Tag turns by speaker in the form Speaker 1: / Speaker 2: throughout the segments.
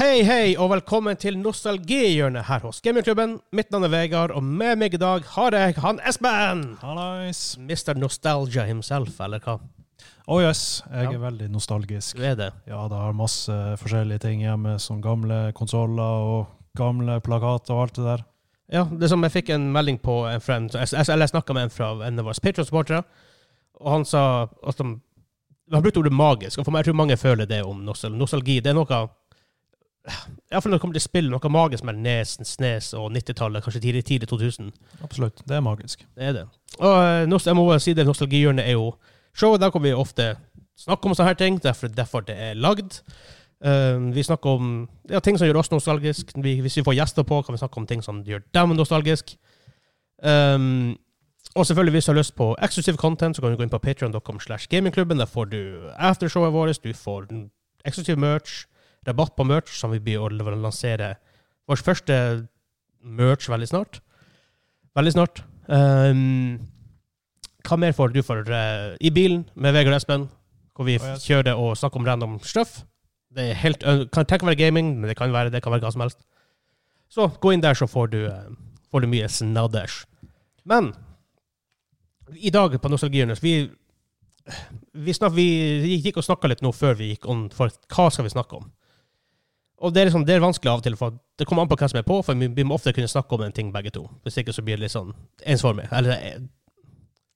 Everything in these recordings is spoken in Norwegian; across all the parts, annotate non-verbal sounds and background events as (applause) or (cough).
Speaker 1: Hei, hei, og velkommen til nostalgihjørnet her hos Gamingklubben. Mitt navn er Vegard, og med meg i dag har jeg han Espen!
Speaker 2: Hallais.
Speaker 1: Mr. Nostalgia himself, eller hva?
Speaker 2: Å yes, jeg
Speaker 1: Ja.
Speaker 2: er veldig nostalgisk.
Speaker 1: Du er det.
Speaker 2: Ja, det har masse forskjellige ting hjemme, som gamle konsoller og gamle plakater og alt det der.
Speaker 1: Ja, det er som jeg fikk en melding på en friend, jeg- jeg- eller jeg snakka med en fra en av våre Patreon-supportere, og han sa at de Han brukte ordet magisk, og for meg, jeg tror mange føler det om nostal nostalgi. Det er noe Iallfall når det kommer til spill, noe magisk med Nes, Snes og 90-tallet, kanskje tidlig, tidlig 2000.
Speaker 2: Absolutt. Det er magisk.
Speaker 1: Det er det. Og eh, nos- jeg må bare si det, nostalgihjørnet er jo showet. Der kan vi ofte snakke om sånne her ting, derfor, derfor det er lagd. Um, vi snakker om ja, ting som gjør oss nostalgisk. Vi, hvis vi får gjester på, kan vi snakke om ting som gjør dem nostalgisk. Um, og selvfølgelig, hvis du har lyst på eksklusiv content, så kan du gå inn på patreon.com slash gamingklubben. Der får du aftershowet vårt, du får den- eksklusiv merch, rabatt på merch, som vi blir å lansere vår første merch veldig snart. Veldig snart. Um, hva mer får du for eh, I bilen med Vegard og Espen, hvor vi
Speaker 2: Å, ja.
Speaker 1: kjører og snakker om random stuff. Det er helt, ø- kan tenke å være gaming, men det kan være, det kan være hva som helst. Så gå inn der, så får du, eh, får du mye snadders. Men i dag på Nostalgihjørnet vi, vi, snak, vi gikk og snakka litt nå før vi gikk on, for hva skal vi snakke om? Og det er, liksom, det er vanskelig av og til, for det kommer an på hvem som er på, for vi, vi må ofte kunne snakke om en ting begge to. Hvis ikke så blir det litt sånn ensformig. Eller eh,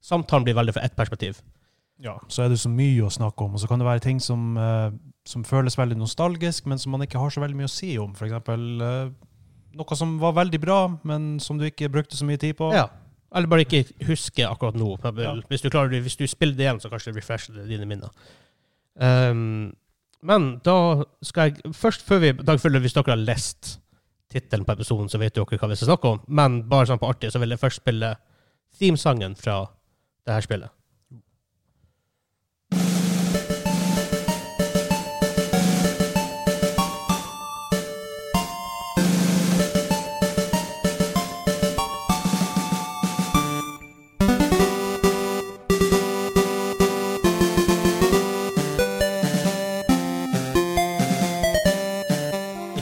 Speaker 1: samtalen blir veldig fra ett perspektiv.
Speaker 2: Ja. Så er det så mye å snakke om, og så kan det være ting som, eh, som føles veldig nostalgisk, men som man ikke har så veldig mye å si om. For eksempel eh, noe som var veldig bra, men som du ikke brukte så mye tid på.
Speaker 1: Ja. Eller bare ikke huske akkurat nå.
Speaker 2: Ja.
Speaker 1: Hvis, du klarer, det- hvis du spiller det igjen, så kanskje det refresher det dine minner. Ehm, men da skal jeg først, før vi, da føler jeg hvis dere har lest tittelen på episoden, så vet dere hva vi skal snakke om. Men bare sånn på artig, så vil jeg først spille themesangen fra det her spillet.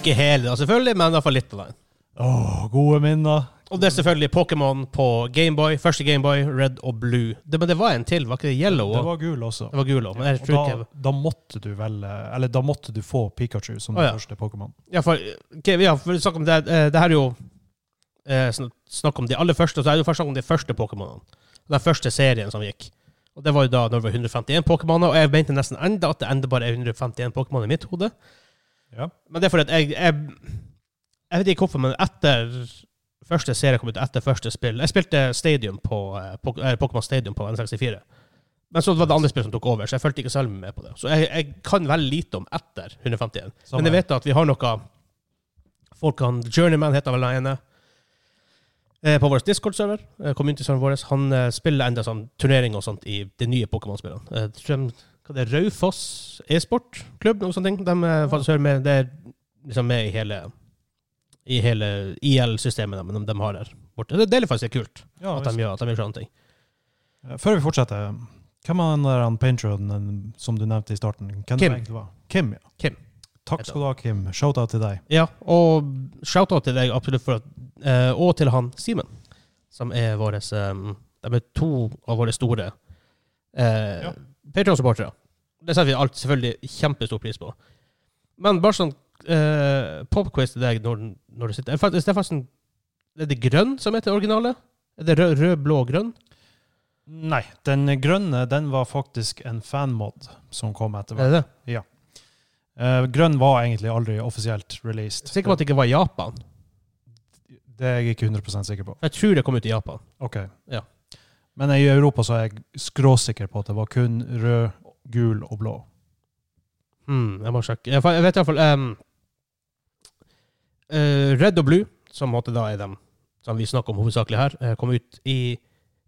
Speaker 1: Ikke hele, da, selvfølgelig, men iallfall litt av den.
Speaker 2: Åh, gode minner.
Speaker 1: Og det er selvfølgelig Pokémon på Gameboy. Første Gameboy, Red og Blue. Det, men det var en til, var ikke det Yellow?
Speaker 2: Det
Speaker 1: også?
Speaker 2: var gul også.
Speaker 1: det var gul òg. Men jeg
Speaker 2: Og
Speaker 1: tror ikke
Speaker 2: da, da måtte du velge, eller da måtte du få Pikachu som
Speaker 1: Å, ja.
Speaker 2: den første Pokémon.
Speaker 1: Ja, for, ok, ja, for snakk om det, eh, det her er jo eh, sn- snakk om de aller første, så er det jo først snakk om de første Pokémonene. Den første serien som gikk. Og det var jo da når det var 151 Pokémoner, og jeg mente nesten enda at det enda bare er 151 Pokémon i mitt hode.
Speaker 2: Ja.
Speaker 1: Men det er fordi at jeg, jeg Jeg vet ikke hvorfor, men etter første serie kom ut, etter første spill Jeg spilte Stadium på eh, Pok- eh, Pokémon Stadium på N64. Men så var det andre spill som tok over, så jeg fulgte ikke selv med på det. Så jeg, jeg kan veldig lite om etter 151.
Speaker 2: Samme
Speaker 1: Men jeg
Speaker 2: her.
Speaker 1: vet at vi har noe Folk kan Journeyman heter vel den ene. eh, På vår Discord-server, eh, community-serveren vår, han eh, spiller enda sånn turnering og sånt i de nye Pokémon-spillene. Eh, tror jeg- Hva det er Raufoss e-sportklubb, noe sånt. ting. De eh, faktisk hører med. Det er liksom med i hele i hele IL-systemet de, de, de har der borte. Det, det er faktisk kult
Speaker 2: Ja,
Speaker 1: at de gjør, at de gjør sånne ting.
Speaker 2: Eh, Før vi fortsetter, hvem er den der han paintroden som du nevnte i starten? Hvem det
Speaker 1: Kim.
Speaker 2: egentlig var? Kim, ja.
Speaker 1: Kim.
Speaker 2: Takk skal du ha, Kim. Shout-out til deg.
Speaker 1: Ja, og shout-out til deg absolutt for at, eh, og til han Simen, som er våres eh, De er to av våre store eh,
Speaker 2: Ja.
Speaker 1: Patreon-supportere. Det setter vi alt selvfølgelig kjempestor pris på. Men bare sånn eh, popquiz til deg når, når du sitter Er faktisk- Det er faktisk en, Er det grønn som heter originalet? Er det rød, rød blå, grønn?
Speaker 2: Nei, den grønne den var faktisk en fanmod som kom etter
Speaker 1: Er det
Speaker 2: hvert.
Speaker 1: det?
Speaker 2: Eh, grønn var egentlig aldri offisielt released.
Speaker 1: Sikker på at det ikke var Japan?
Speaker 2: Det er jeg ikke 100 sikker på.
Speaker 1: For jeg tror det kom ut i Japan.
Speaker 2: Ok.
Speaker 1: Ja.
Speaker 2: Men i Europa så er jeg skråsikker på at det var kun rød, gul og blå.
Speaker 1: Hmm, jeg må sjekke. Jeg, fa- jeg vet iallfall um, eh, Red og Blue, som måtte da er dem som vi snakker om hovedsakelig her, eh, kom ut i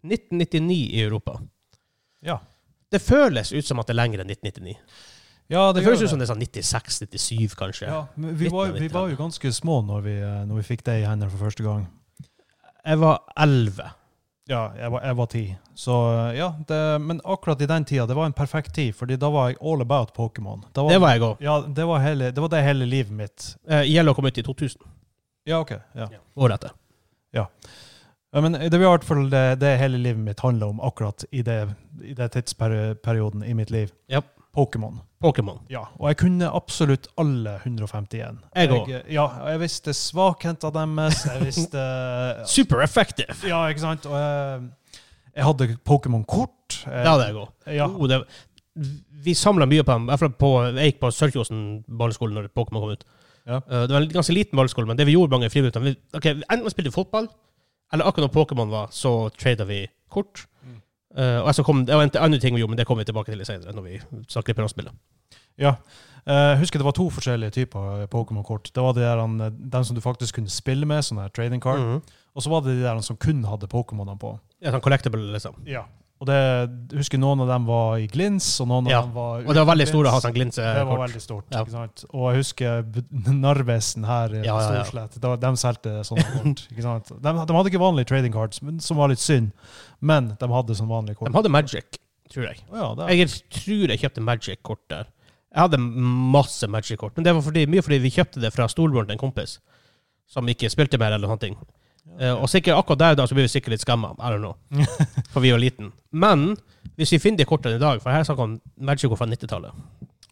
Speaker 1: 1999 i Europa.
Speaker 2: Ja.
Speaker 1: Det føles ut som at det er lenger enn 1999.
Speaker 2: Ja,
Speaker 1: Det føles ut som det er sånn 96-97, kanskje.
Speaker 2: Ja, men vi,
Speaker 1: Midten av
Speaker 2: var, vi var jo ganske små når vi, eh, når vi fikk det i hendene for første gang.
Speaker 1: Jeg var 11
Speaker 2: Ja, jeg var, jeg var ti. Så ja, det, men akkurat i den tida, det var en perfekt tid, fordi da var jeg all about Pokémon. Da
Speaker 1: Det var jeg òg.
Speaker 2: Ja, det var, hele, det var det hele livet mitt.
Speaker 1: Yellow kom ut i 2000,
Speaker 2: Ja, OK. Ja.
Speaker 1: året etter.
Speaker 2: Ja, men det var i hvert fall det, det hele livet mitt handla om akkurat i det, i det tidsperioden i mitt liv.
Speaker 1: Ja.
Speaker 2: Pokémon.
Speaker 1: Pokémon.
Speaker 2: Ja, og jeg kunne absolutt alle 151.
Speaker 1: Jeg òg.
Speaker 2: Ja, og jeg visste svakheten deres,
Speaker 1: (laughs)
Speaker 2: jeg visste
Speaker 1: Super effective!
Speaker 2: Ja, ikke sant? Og jeg, jeg hadde Pokémon-kort.
Speaker 1: Det hadde jeg òg.
Speaker 2: Ja,
Speaker 1: Oh, det- vi samla mye på dem. i hvert fall på- Jeg gikk på Sørkjosen barneskole når Pokémon kom ut.
Speaker 2: Ja.
Speaker 1: Eh, Det var en ganske liten barneskole, men det vi gjorde mange friminutter vi- Ok, Enten spilte vi fotball, eller akkurat når Pokémon var, så trada vi kort.
Speaker 2: Mm.
Speaker 1: Eh, og så kom, det var en annen ting vi gjorde, men det kommer vi tilbake til litt senere. Når vi snakker piratspillet.
Speaker 2: Ja. Jeg husker det var to forskjellige typer eh, Pokémon-kort. Det var de der, han, eh, dem som du faktisk kunne spille med, sånne her trading card.
Speaker 1: Mhm.
Speaker 2: Og så var det de der han som kun hadde Pokémonene på.
Speaker 1: Ja, sånn collectible, liksom.
Speaker 2: Og det, jeg husker noen av dem var i glins, og noen av
Speaker 1: Ja.
Speaker 2: dem var
Speaker 1: Og det var veldig store å ha sånn
Speaker 2: Det var
Speaker 1: glinsekort.
Speaker 2: veldig stort.
Speaker 1: Ja.
Speaker 2: ikke sant? Og jeg husker b- Narvesen her i
Speaker 1: Ja, ja, ja.
Speaker 2: Storslett. Da- De solgte sånne kort. (laughs) ikke sant? De, de hadde ikke vanlige trading cards, men, som var litt synd. Men de hadde som vanlige
Speaker 1: De
Speaker 2: kort.
Speaker 1: hadde Magic, tror jeg.
Speaker 2: Å ja, det er.
Speaker 1: Jeg tror jeg kjøpte Magic-kort der. Jeg hadde masse Magic-kort, men det var fordi, mye fordi vi kjøpte det fra storebroren til en kompis, som ikke spilte mer eller noe sånt. Eh, og sikkert akkurat der og da så blir vi sikkert litt skamma, I don't know, for vi var liten. Men hvis vi finner de kortene i dag, for her er snakk om Magic-kort fra 90-tallet,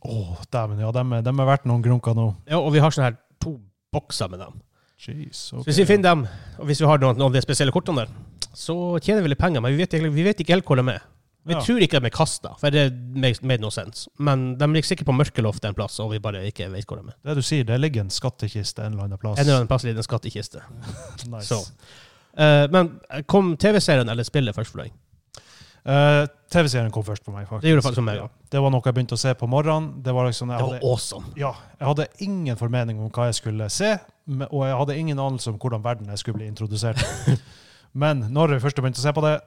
Speaker 2: Å, dæven, ja, de, er- de er verdt noen grunker nå.
Speaker 1: ja, og vi har sånne her to bokser med dem.
Speaker 2: Jeez,
Speaker 1: Så
Speaker 2: ok.
Speaker 1: hvis vi finner dem, og hvis vi har noen, noen av de spesielle kortene der, så tjener vi litt penger, men vi vet, egentlig- vi vet ikke helt hvor de er. Vi
Speaker 2: Ja.
Speaker 1: tror ikke de er kasta, for det made made no sense. Men de ligger sikkert på mørkeloftet en plass, og vi bare ikke vet hvor de er.
Speaker 2: Det du sier, det ligger en skattkiste en eller annen plass.
Speaker 1: En eller annen plass i en skattkiste.
Speaker 2: (laughs) Nice.
Speaker 1: Så. Eh, men kom TV-serien eller spillet først for deg?
Speaker 2: Eh, TV-serien kom først på meg, faktisk.
Speaker 1: Det gjorde faktisk meg
Speaker 2: ja.
Speaker 1: også.
Speaker 2: Det var noe jeg begynte å se på morgenen. Det var liksom, jeg
Speaker 1: Det var
Speaker 2: hadde,
Speaker 1: awesome.
Speaker 2: ja, jeg hadde ingen formening om hva jeg skulle se, men- og jeg hadde ingen anelse om hvordan verden jeg skulle bli introdusert
Speaker 1: (laughs)
Speaker 2: i. Men når jeg først begynte å se på det,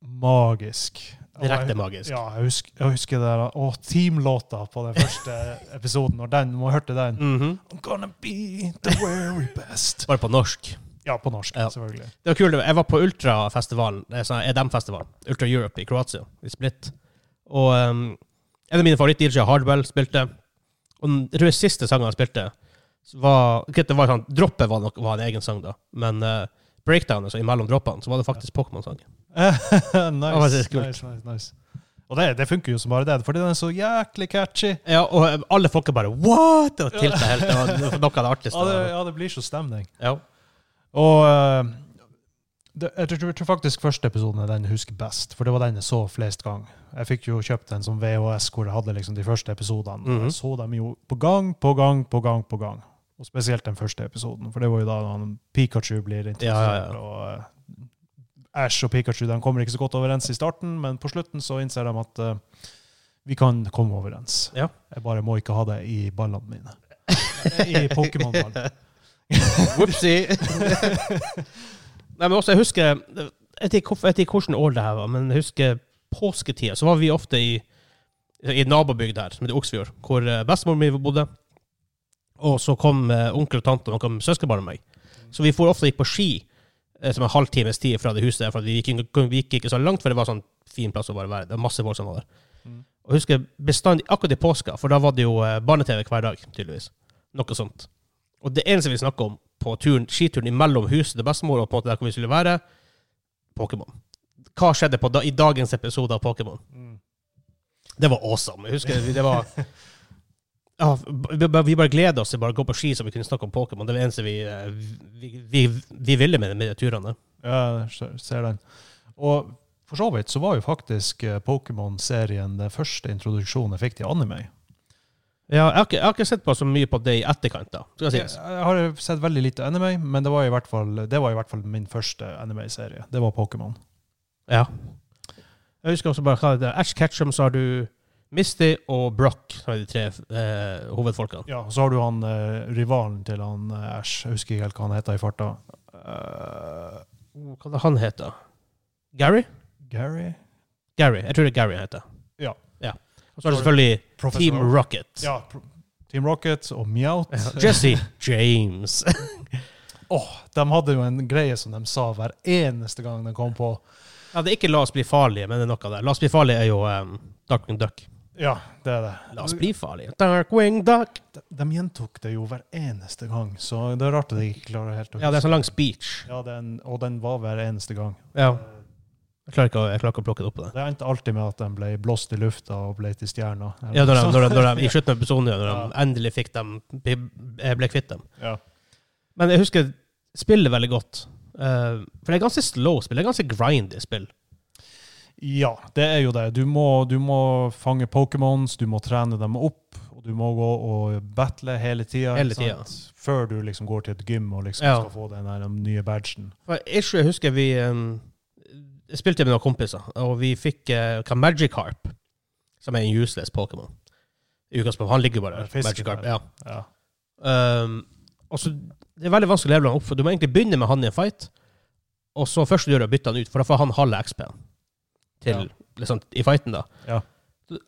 Speaker 2: magisk. Og
Speaker 1: Direkte
Speaker 2: jeg-
Speaker 1: magisk.
Speaker 2: Ja, jeg husker, jeg husker det der, å, teamlåta på den
Speaker 1: (laughs)
Speaker 2: første episoden, når den, når jeg hørte den.
Speaker 1: Mhm.
Speaker 2: I'm gonna be the very best.
Speaker 1: Bare på norsk.
Speaker 2: Ja, på norsk,
Speaker 1: Ja.
Speaker 2: selvfølgelig.
Speaker 1: Det var kult. Jeg var på Ultrafestivalen, det er sånn EDM-festivalen, Ultra Europe i Kroatia, i Split. Og ehm, en av mine favoritt-DJ-er, Hardwell, spilte. Og den- jeg tror den siste sangen han spilte, så var ok, det var sånn, Droppet var, nok, var en egen sang, da. Men eh, breakdown, altså imellom droppene, så var det faktisk Pokémon-sang. var
Speaker 2: (laughs) nice,
Speaker 1: faktisk kult.
Speaker 2: nice, nice, nice. Og det, det funker jo som bare det, fordi den er så jæklig catchy.
Speaker 1: Ja, og eh, alle folk er bare What?! Og tilta helt. Det var noe av det artigste.
Speaker 2: Ja, det, ja, det blir så stemning.
Speaker 1: Ja.
Speaker 2: Og eh, det, jeg tror, tror faktisk første episoden er den jeg husker best, for det var den jeg så flest gang. Jeg fikk jo kjøpt en sånn som VHS hvor jeg hadde liksom de første episodene. og
Speaker 1: Mhm.
Speaker 2: Jeg så dem jo på gang, på gang, på gang, på gang. Og spesielt den første episoden, for det var jo da han Pikachu blir introdusert.
Speaker 1: Ja, ja, ja.
Speaker 2: Og eh, Ash og Pikachu de kommer ikke så godt overens i starten, men på slutten så innser de at eh, vi kan komme overens.
Speaker 1: Ja.
Speaker 2: Jeg bare må ikke ha det i
Speaker 1: (laughs)
Speaker 2: ballene mine. I Pokémon-ballen.
Speaker 1: Whoopsie. Nei, men også, jeg husker Jeg vet ikke hvorfor- jeg vet ikke hvilket år det her var, men jeg husker påsketida. Så var vi ofte i, i en nabobygd her, som heter Oksfjord, hvor eh, bestemor mi bodde. Og så kom eh, onkel og tante og noen søskenbarn med meg. Så vi for ofte og gikk på ski eh, som en halv times tid fra det huset der, for at vi gikk, ikke- vi gikk ikke så langt, for det var sånn fin plass å bare være. Det var masse folk som var der.
Speaker 2: Mm.
Speaker 1: Og jeg husker bestandig akkurat i påska, for da var det jo eh, barne-TV hver dag, tydeligvis. Noe sånt. Og det eneste vi snakka om på turen, skituren mellom huset til bestemor og på en måte der hvor vi skulle være, Pokémon. Hva skjedde på da, i dagens episode av Pokémon?
Speaker 2: Mm.
Speaker 1: Det var awesome. Jeg husker vi- det var ja, Vi bare- vi bare gleda oss til bare å gå på ski så vi kunne snakke om Pokémon. Det var det eneste vi, eh, vi, vi, vi ville med, med de turene.
Speaker 2: Ja, jeg ser- ser den. Og for så vidt så var jo faktisk eh, Pokémon-serien den første introduksjonen jeg fikk til anime.
Speaker 1: Ja, jeg, har ikke, jeg har ikke sett på så mye på det i etterkant, da. Skal
Speaker 2: Jeg,
Speaker 1: jeg si.
Speaker 2: jeg har sett veldig lite anime, men det var i hvert fall, det var i hvert fall min første anime-serie. Det var Pokémon.
Speaker 1: Ja. Jeg husker også bare hva det er. Ash Ketchum, så har du Misty og Brock, som er de tre eh, hovedfolkene.
Speaker 2: Ja, og så har du han eh, rivalen til han eh, Ash, jeg husker ikke helt hva han heter i farta. Eh,
Speaker 1: Hva er det han heter? Gary?
Speaker 2: Gary?
Speaker 1: Gary. Jeg tror det er Gary han heter.
Speaker 2: Ja.
Speaker 1: Og så er det selvfølgelig
Speaker 2: Professor
Speaker 1: Team
Speaker 2: Rock.
Speaker 1: (laughs) Rocket.
Speaker 2: Ja, Pro- Team Rocket og Meowth.
Speaker 1: Jesse James.
Speaker 2: De hadde jo en greie som de sa hver eneste gang de kom på.
Speaker 1: (laughs) Ja, det er ikke La oss bli farlige, men det er noe der. La oss bli farlige er jo um, Darkwing Duck.
Speaker 2: Ja, det er det.
Speaker 1: La oss bli farlige. Darkwing Duck.
Speaker 2: De, de gjentok det jo hver eneste gang, så det er rart at de ikke klarer helt å
Speaker 1: Ja, det er sånn lang speech.
Speaker 2: Ja, den, og den var hver eneste gang.
Speaker 1: Ja. Jeg klarer ikke å, jeg klarer ikke å plukke det opp på det.
Speaker 2: Det endte alltid med at den ble blåst i lufta og ble til stjerner. eller
Speaker 1: Ja, når de,
Speaker 2: noe
Speaker 1: når
Speaker 2: sånt.
Speaker 1: de, når de, I slutten av episoden, ja, når de
Speaker 2: Ja.
Speaker 1: endelig fikk dem, ble, ble kvitt dem.
Speaker 2: (laughs) ja.
Speaker 1: Men jeg husker spillet veldig godt. Eh, for det er ganske slow spill. Det er ganske grindy spill.
Speaker 2: ja, det er jo det. Du må, du må fange Pokémons, du må trene dem opp, og du må gå og battle hele tida.
Speaker 1: Hele
Speaker 2: Før du liksom går til et gym og liksom
Speaker 1: Ja.
Speaker 2: skal få den der nye badgen.
Speaker 1: For Issue, jeg husker vi um, spilte med noen kompiser, og vi fikk eh, hva Magikarp, som er en useless Pokémon. I utgangspunktet, Han ligger jo bare
Speaker 2: Ja,
Speaker 1: der.
Speaker 2: fisk,
Speaker 1: Magikarp, ja.
Speaker 2: Ja.
Speaker 1: Um, og så Det er veldig vanskelig å levele han opp, for du må egentlig begynne med han i en fight, og så først du gjør, er å bytte han ut, for da får han halve XP-en til,
Speaker 2: Ja.
Speaker 1: liksom, i fighten. da.
Speaker 2: Ja.
Speaker 1: Så-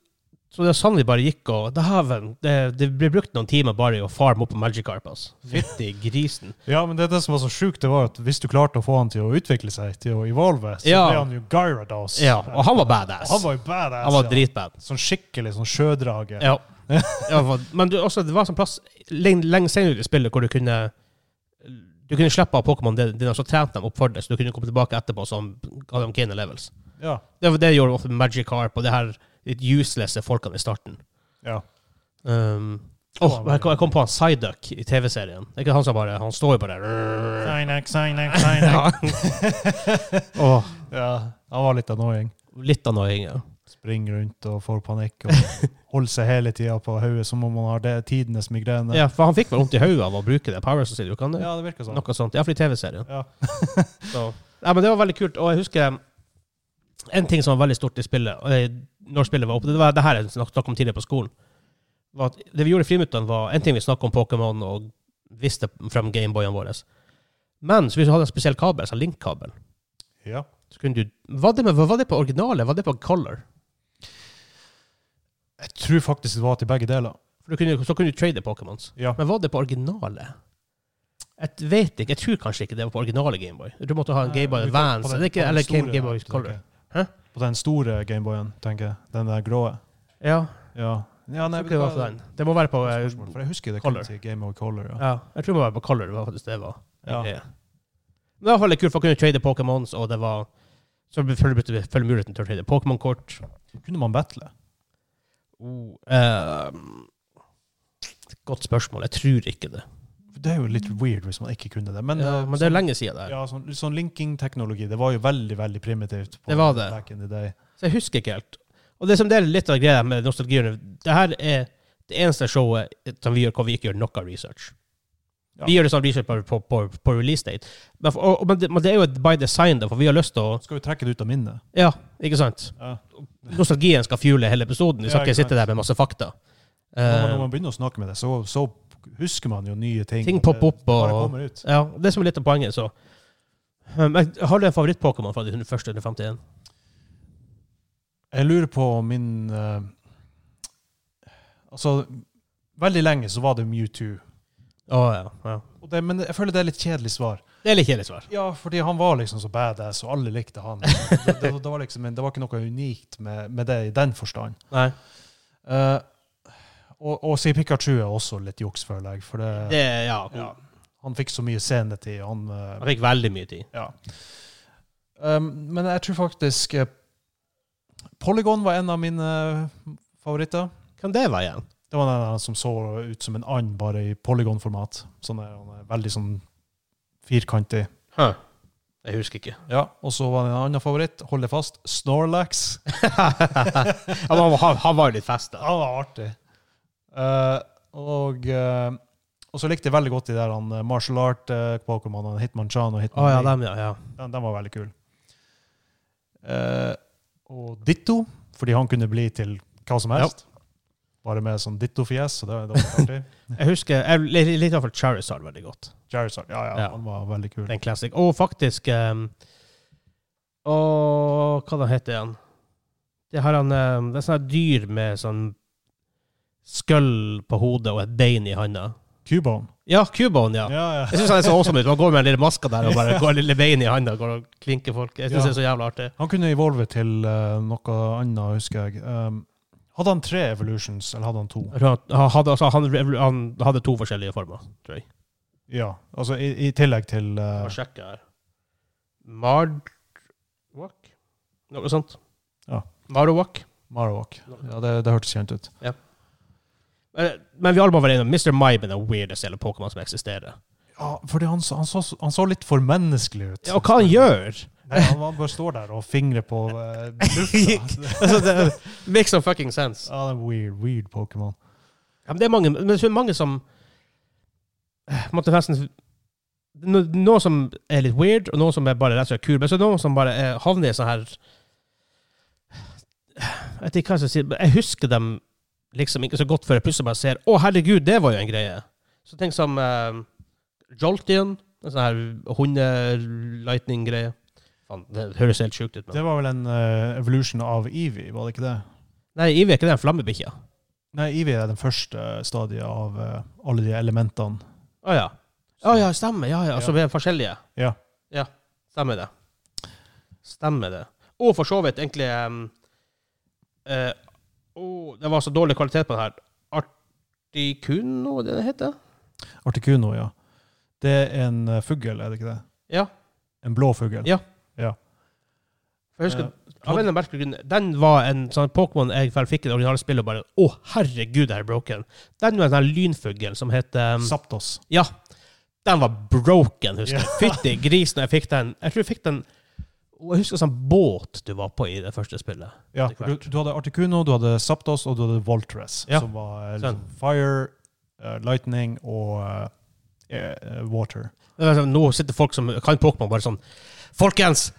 Speaker 1: Så det er sannelig bare gikk og Dæven, det, det blir brukt noen timer bare i å farme opp på Magikarp. altså. Fytti grisen.
Speaker 2: Ja, men det, det som var så sjukt, det var at hvis du klarte å få han til å utvikle seg, til å evolve, så
Speaker 1: Ja.
Speaker 2: ble han jo Gyarados.
Speaker 1: Ja, og han var badass.
Speaker 2: Han var jo badass.
Speaker 1: Han var
Speaker 2: ja.
Speaker 1: dritbad.
Speaker 2: Sånn skikkelig sånn sjødrage.
Speaker 1: Ja. (laughs) Ja, for- Men du, også, det var en sånn plass lenge, lenge senere ut i spillet hvor du kunne du kunne slippe av Pokémon dine, dine, og så trente dem opp for deg, så du kunne komme tilbake etterpå som ga dem gain levels.
Speaker 2: Ja.
Speaker 1: Det, var- det gjorde ofte Magic Harp og det her litt uselesse folkene i starten.
Speaker 2: ja.
Speaker 1: Um, åh, jeg, kom, jeg kom på han Psyduck i TV-serien. Det er ikke han som bare Han står jo bare der.
Speaker 2: Signac, signac, signac.
Speaker 1: Åh,
Speaker 2: ja, han var litt annoying.
Speaker 1: (laughs) litt annoying, ja.
Speaker 2: Springer rundt og får
Speaker 1: (laughs)
Speaker 2: panikk og holder seg hele tida på hodet som om han har det tidenes migrene.
Speaker 1: ja. For han fikk vel vondt i hodet av å bruke det. Powers og sier, kan det?
Speaker 2: Ja, det virker sånn.
Speaker 1: Noe sånt. Iallfall i TV-serien. (laughs)
Speaker 2: Ja.
Speaker 1: Så. Nei, men det var veldig kult. Og jeg husker en ting som var veldig stort i spillet, eh, når spillet var oppe, det var det her jeg snak- snakket om tidligere på skolen. Var at det vi gjorde i friminuttene, var en ting vi snakket om Pokémon og visste frem Gameboyene våre. Men så hvis du hadde en spesiell kabel, så link-kabel,
Speaker 2: Ja.
Speaker 1: så kunne du Var det, med, var det på originale? Var det på color?
Speaker 2: Jeg tror faktisk det var til begge deler.
Speaker 1: For du kunne, så kunne du trade Pokémons.
Speaker 2: Ja.
Speaker 1: Men var det på originale? Jeg vet ikke. Jeg tror kanskje ikke det var på originale Gameboy. Jeg tror Du måtte ha en Gameboy
Speaker 2: På den-
Speaker 1: Advance
Speaker 2: på den-
Speaker 1: eller,
Speaker 2: på
Speaker 1: ikke,
Speaker 2: den
Speaker 1: eller
Speaker 2: store,
Speaker 1: Gameboy
Speaker 2: tenker
Speaker 1: Color.
Speaker 2: jeg.
Speaker 1: Hæ?
Speaker 2: På den store Gameboyen, tenker jeg. Den der gråe.
Speaker 1: Ja,
Speaker 2: Ja. ja
Speaker 1: jeg tror
Speaker 2: nei,
Speaker 1: ikke det var på den. Det må være på eh,
Speaker 2: Spørsmål, For jeg husker det
Speaker 1: Color.
Speaker 2: kun til Gameboy Color. Ja.
Speaker 1: Ja, jeg tror det var på Color det var faktisk det var.
Speaker 2: Ja.
Speaker 1: Ja. Men det var veldig kult, for å kunne trade Pokémons, og det var Så følger muligheten til å trade Pokémon-kort.
Speaker 2: Kunne man battle? Oh,
Speaker 1: Eh,
Speaker 2: ehm.
Speaker 1: godt spørsmål. Jeg tror ikke det.
Speaker 2: For Det er jo litt weird hvis man ikke kunne det. Men,
Speaker 1: ja,
Speaker 2: eh,
Speaker 1: men det er
Speaker 2: sånn-
Speaker 1: lenge siden det her.
Speaker 2: Ja, sånn, sånn linking-teknologi, det var jo veldig, veldig primitivt. på
Speaker 1: Det var det.
Speaker 2: Back in the day.
Speaker 1: Så jeg husker ikke helt. Og det som det er litt av greia med nostalgien Det her er det eneste showet som vi gjør hvor vi ikke gjør noe research.
Speaker 2: Ja.
Speaker 1: Vi gjør det sånn research på, på, på, på release date. Men, for, og, men, det, men det er jo et by design, da, for vi har lyst til å
Speaker 2: Skal vi trekke det ut av minnet?
Speaker 1: Ja, ikke sant?
Speaker 2: Ja.
Speaker 1: nostalgien skal fuele hele episoden. Vi skal
Speaker 2: Ja,
Speaker 1: ikke
Speaker 2: ikke sant.
Speaker 1: sitte der med masse fakta.
Speaker 2: Når man-
Speaker 1: Eh,
Speaker 2: når man begynner å snakke med det, så, så husker man jo nye ting.
Speaker 1: Ting popper opp,
Speaker 2: Det bare
Speaker 1: og-
Speaker 2: kommer ut.
Speaker 1: Eh, ja, det som er litt av poenget, så um, jeg- Har du en favoritt-Pokémon fra de 100 første 151?
Speaker 2: Jeg lurer på om min eh, Altså, veldig lenge så var det Mewtwo.
Speaker 1: Å ja, ja.
Speaker 2: Og det, men jeg føler det er litt kjedelig svar.
Speaker 1: Det er litt kjedelig svar.
Speaker 2: Ja, fordi han var liksom så badass, og alle likte
Speaker 1: (laughs)
Speaker 2: han. Det, det, det var liksom, men det var ikke noe unikt med, med det i den forstand.
Speaker 1: Nei.
Speaker 2: Eh, og, og si Pikachu er også litt juks, føler jeg. For det,
Speaker 1: Det, ja.
Speaker 2: ja, han fikk så mye scenetid. Han,
Speaker 1: Han
Speaker 2: eh,
Speaker 1: fikk veldig mye tid.
Speaker 2: ja. um, men jeg tror faktisk eh, Polygon var en av mine favoritter.
Speaker 1: Kan det være igjen?
Speaker 2: Det var den der som så ut som en and, bare i polygonformat. Sånn der, han er veldig sånn firkantig.
Speaker 1: Huh. Jeg husker ikke.
Speaker 2: Ja, Og så var det en annen favoritt, hold deg fast, Snorlax. (laughs)
Speaker 1: Ja, men han, var- han var jo litt festa.
Speaker 2: Ja, det var artig. Eh, og, eh, og så likte jeg veldig godt de der han, eh, martial art eh, Pokémonene, Hitman Chan og Hitman
Speaker 1: Å ja,
Speaker 2: Lee.
Speaker 1: dem, ja. ja.
Speaker 2: den, den var veldig kul. Eh, og Ditto, fordi han kunne bli til hva som helst. Bare med sånn Ditto-fjes, så det, det var litt artig.
Speaker 1: (laughs) Jeg husker jeg likte i hvert fall Charizard veldig godt.
Speaker 2: Charizard, ja, ja,
Speaker 1: Ja.
Speaker 2: han var veldig kul.
Speaker 1: Det er en classic. Og faktisk um, Og hva den heter han? Det har han sånn um, Det er sånne dyr med sånn skull på hodet og et bein i handa.
Speaker 2: Cubone.
Speaker 1: Ja, Cubone, ja.
Speaker 2: Ja, ja.
Speaker 1: Jeg syns han er så awesome ut. Man går med den lille maska der og bare går lille bein i handa og går og klinker folk. Jeg syns
Speaker 2: Ja.
Speaker 1: det er så jævla artig.
Speaker 2: Han kunne evolve til eh, noe annet, husker jeg. Um, hadde han tre evolutions, eller hadde han to?
Speaker 1: Jeg tror han- Han hadde, altså, han, han hadde to forskjellige former, tror jeg.
Speaker 2: Ja, altså i, i tillegg til eh,
Speaker 1: Må sjekke her. Mardwak? Noe sånt.
Speaker 2: Ja.
Speaker 1: Marowak.
Speaker 2: Marowak. Ja, det, det hørtes kjent ut.
Speaker 1: Eh, Men vi alle må være enige om Mr. Mime er den weirdeste hele Pokémon som eksisterer.
Speaker 2: Ja, fordi han, så- han, så, han så litt for menneskelig ut.
Speaker 1: Ja, og hva han gjør?
Speaker 2: Nei, han, han bare står der og fingrer på eh,
Speaker 1: (laughs)
Speaker 2: lufta.
Speaker 1: Altså, det makes no fucking sense.
Speaker 2: Ja, det er weird, weird Pokémon.
Speaker 1: Ja, men det er mange, men det er mange som eh, måtte nesten no, Noen som er litt weird, og noen som er bare rett og slett kul, men så er det noen som bare eh, havner i sånn her Jeg vet ikke hva jeg skal si, men jeg husker dem liksom ikke så godt før jeg plutselig bare ser Å, herregud, det var jo en greie. Så ting som eh, Jolteon, en sånn her hunde-lightning-greie Faen, Det høres helt sjukt ut. Men.
Speaker 2: Det var vel en eh, evolution av Eevee, var det ikke det?
Speaker 1: Nei, Ivy er ikke den flammebikkja.
Speaker 2: Nei, Eevee er den første stadiet av eh, alle de elementene.
Speaker 1: Å ja. Å ja, stemmer. Ja, ja. Altså, vi er forskjellige.
Speaker 2: Ja.
Speaker 1: Ja, stemmer det. Stemmer det. Og for så vidt egentlig um, eh, å, Det var så dårlig kvalitet på den her. Articuno, er det det heter?
Speaker 2: Articuno, ja. Det er en eh, fugl, er det ikke det?
Speaker 1: Ja.
Speaker 2: En blå fugl?
Speaker 1: Ja. For jeg husker,
Speaker 2: Eh,
Speaker 1: av en eller annen merkelig grunn, Den var en sånn Pokémon jeg vel fikk i det originale spillet og bare Å, herregud, det her er broken. Den var en sånn her lynfugl som het
Speaker 2: Eh,
Speaker 1: um,
Speaker 2: Zapdos.
Speaker 1: Ja. Den var broken, husker jeg. Fytti grisen, jeg fikk den Jeg tror jeg fikk den og Jeg husker sånn båt du var på i det første spillet.
Speaker 2: Ja,
Speaker 1: Etter
Speaker 2: du,
Speaker 1: hvert.
Speaker 2: du hadde Articuno, du hadde Zapdos og du hadde Voltres,
Speaker 1: Ja.
Speaker 2: som var eh,
Speaker 1: Sånn.
Speaker 2: fire, eh, lightning og eh, eh,
Speaker 1: (laughs)
Speaker 2: water. (laughs)
Speaker 1: Det er sånn, Nå sitter folk som kan Pokémon, bare sånn Folkens,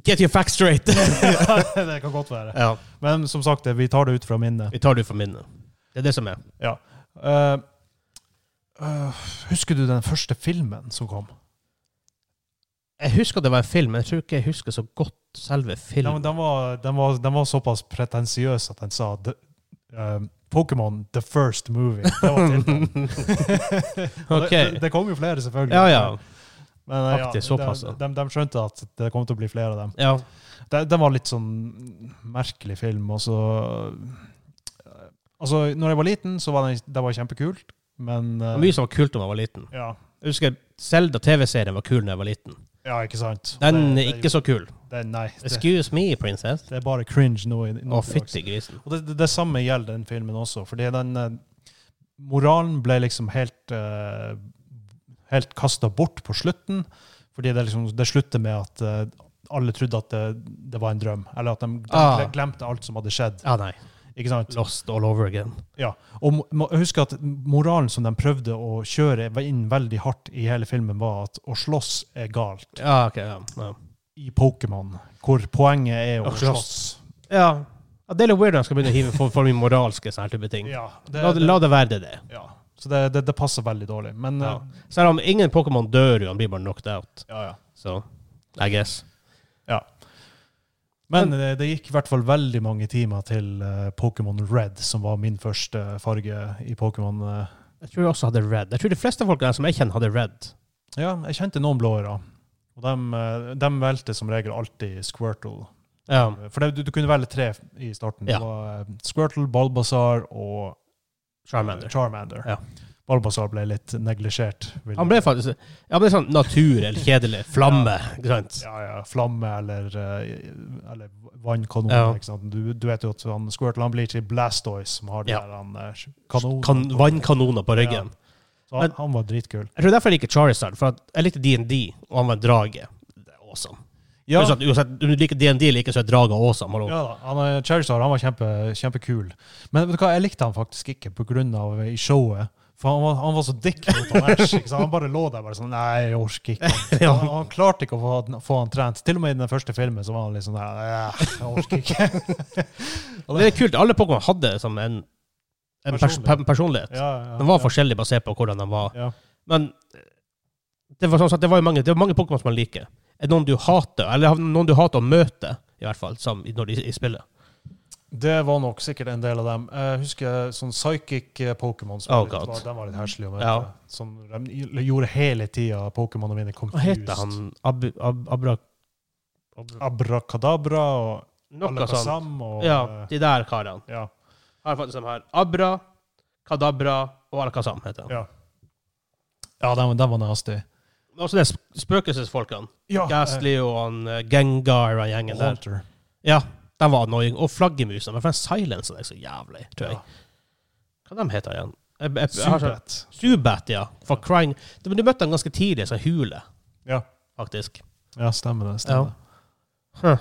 Speaker 1: get your facts
Speaker 2: (laughs)
Speaker 1: straight!
Speaker 2: det kan godt være.
Speaker 1: ja,
Speaker 2: Men som sagt, eh, vi tar det ut fra minnet.
Speaker 1: vi tar det ut fra minnet. Det er det som er.
Speaker 2: Ja. Eh, eh, husker du den første filmen som kom?
Speaker 1: Jeg husker det var en film, men jeg tror ikke jeg husker så godt selve
Speaker 2: Den,
Speaker 1: filmen.
Speaker 2: den, var, den, var, den var såpass pretensiøs at den sa the, eh, Pokémon The First Movie. Det var
Speaker 1: (laughs)
Speaker 2: tittelen. Og
Speaker 1: Ok.
Speaker 2: det, det, det kom jo flere, selvfølgelig.
Speaker 1: Ja, ja.
Speaker 2: Men, eh,
Speaker 1: Faktisk,
Speaker 2: ja,
Speaker 1: såpass, ja.
Speaker 2: de, de, de skjønte at det kom til å bli flere av dem.
Speaker 1: ja.
Speaker 2: Det, det var litt sånn merkelig film. Og så Altså, når jeg var liten, så var det, det var kjempekult, men
Speaker 1: Det
Speaker 2: eh,
Speaker 1: var mye som var kult da jeg var liten.
Speaker 2: ja,
Speaker 1: Jeg husker Selda TV-serien var kul da jeg var liten.
Speaker 2: ja, ikke sant?
Speaker 1: Den er
Speaker 2: Det- det-
Speaker 1: ikke så kul.
Speaker 2: det, Nei. Det,
Speaker 1: Excuse me, princess.
Speaker 2: det er bare cringe nå. i- nå
Speaker 1: Å,
Speaker 2: til dags.
Speaker 1: fytti grisen.
Speaker 2: Og det, det, det samme gjelder den filmen også, fordi den eh, moralen ble liksom helt eh, helt kasta bort på slutten, fordi det, liksom, det slutter med at eh, alle trodde at det, det var en drøm, eller at de, de
Speaker 1: Ah.
Speaker 2: glemte alt som hadde skjedd.
Speaker 1: Ja, nei.
Speaker 2: ikke sant?
Speaker 1: Lost all over again.
Speaker 2: Ja, og må- må- husk at moralen som de prøvde å kjøre inn veldig hardt i hele filmen, var at å slåss er galt
Speaker 1: Ja, ok. Ja. ja.
Speaker 2: i Pokémon, hvor poenget er
Speaker 1: Å
Speaker 2: å slåss.
Speaker 1: slåss. ja. ja det er litt weird når jeg skal begynne å hive for, for mye moralske sånne her type ting.
Speaker 2: Ja,
Speaker 1: La,
Speaker 2: det,
Speaker 1: det- la det være det det. er.
Speaker 2: ja. Så det, det, det passer veldig dårlig. Men
Speaker 1: Ja.
Speaker 2: eh,
Speaker 1: Selv om ingen Pokémon dør jo, han blir bare knocked out.
Speaker 2: ja, ja.
Speaker 1: Så, I guess.
Speaker 2: Men det, det gikk i hvert fall veldig mange timer til eh, Pokémon Red, som var min første eh, farge i Pokémon. eh.
Speaker 1: Jeg tror jeg også hadde red. Jeg tror de fleste folk her som jeg kjenner, hadde red.
Speaker 2: Ja, jeg kjente noen blåere. Og dem, eh, dem valgte som regel alltid Squirtle. Eh,
Speaker 1: Ja.
Speaker 2: For det, du, du kunne velge tre i starten.
Speaker 1: Ja.
Speaker 2: Det var eh, Squirtle, Balbazar og eh,
Speaker 1: Charmander.
Speaker 2: Charmander.
Speaker 1: Ja.
Speaker 2: Balbazar ble litt neglisjert. vil
Speaker 1: Han ble
Speaker 2: jeg-
Speaker 1: faktisk Ja, men det er sånn natur eller kjedelig. Flamme. Ikke sant?
Speaker 2: ja, ja, Flamme eller, eh, eller vannkanon.
Speaker 1: Ja.
Speaker 2: Ikke sant? Du, du vet jo at han, Squirtle han blir til Blastoise, som har de
Speaker 1: Ja.
Speaker 2: der han, eh, kanonene.
Speaker 1: Kan, vannkanoner på ryggen.
Speaker 2: Så han, han var dritkul.
Speaker 1: Jeg tror derfor jeg liker Charizard, for at jeg likte D&D, og han var en drage. Det er awesome.
Speaker 2: Ja,
Speaker 1: Pluss at Uansett, om du liker D&D, liker så er draga awesome. Hallo.
Speaker 2: ja da, han, eh, Charizard han var kjempe, kjempekul. Men vet du hva, jeg likte han faktisk ikke på grunn av eh, i showet. For han var, han var så dick mot han Ash. Ikke sant? Han bare lå der bare sånn Nei, jeg orker ikke.
Speaker 1: (laughs) Ja.
Speaker 2: Han, han klarte ikke å få, han- få han trent. Til og med i den første filmen så var han liksom der «Æ, Jeg orker
Speaker 1: (laughs)
Speaker 2: ikke.
Speaker 1: Og Det er kult. Alle Pokémon hadde som en, en pers
Speaker 2: Personlighet.
Speaker 1: pe- personlighet.
Speaker 2: ja, ja,
Speaker 1: Den var
Speaker 2: ja.
Speaker 1: forskjellig basert på hvordan den var.
Speaker 2: Ja.
Speaker 1: Men eh, det var sånn at det var jo mange, det var mange Pokémon som man liker. Er det noen du hater, eller noen du hater å møte, i hvert fall, som, i, når de, i spillet?
Speaker 2: Det var nok sikkert en del av dem. Jeg husker sånn psychic eh, Pokémon. som
Speaker 1: Oh,
Speaker 2: var litt-
Speaker 1: God.
Speaker 2: var- Den var litt heslig å møte.
Speaker 1: Ja.
Speaker 2: Som de gjorde hele tida Pokémon og mine
Speaker 1: Hva heter han? Ab, ab, abra... abra
Speaker 2: Abrakadabra og
Speaker 1: noe sånt.
Speaker 2: Alakazam og
Speaker 1: Ja,
Speaker 2: eh,
Speaker 1: de der karene.
Speaker 2: ja.
Speaker 1: Her er faktisk de her. Abra, Kadabra og Alakazam heter han.
Speaker 2: Ja. ja den, den var nasty.
Speaker 1: Men Også de sp- spøkelsesfolkene.
Speaker 2: Ja,
Speaker 1: Ghastly og han eh, Gengar og
Speaker 2: eh,
Speaker 1: gjengen der.
Speaker 2: Haunter.
Speaker 1: Ja, de var annoying. Og flaggermusene. Men for en silence er det så jævlig, tror jeg.
Speaker 2: Ja.
Speaker 1: Hva de heter igjen? Jeg, jeg, jeg, har så-
Speaker 2: Zubat.
Speaker 1: Zubat, ja. For crying. Du, men du møtte han ganske tidlig, så hule,
Speaker 2: Ja.
Speaker 1: faktisk.
Speaker 2: ja, stemmer det. Stemmer.
Speaker 1: Ja. Huh.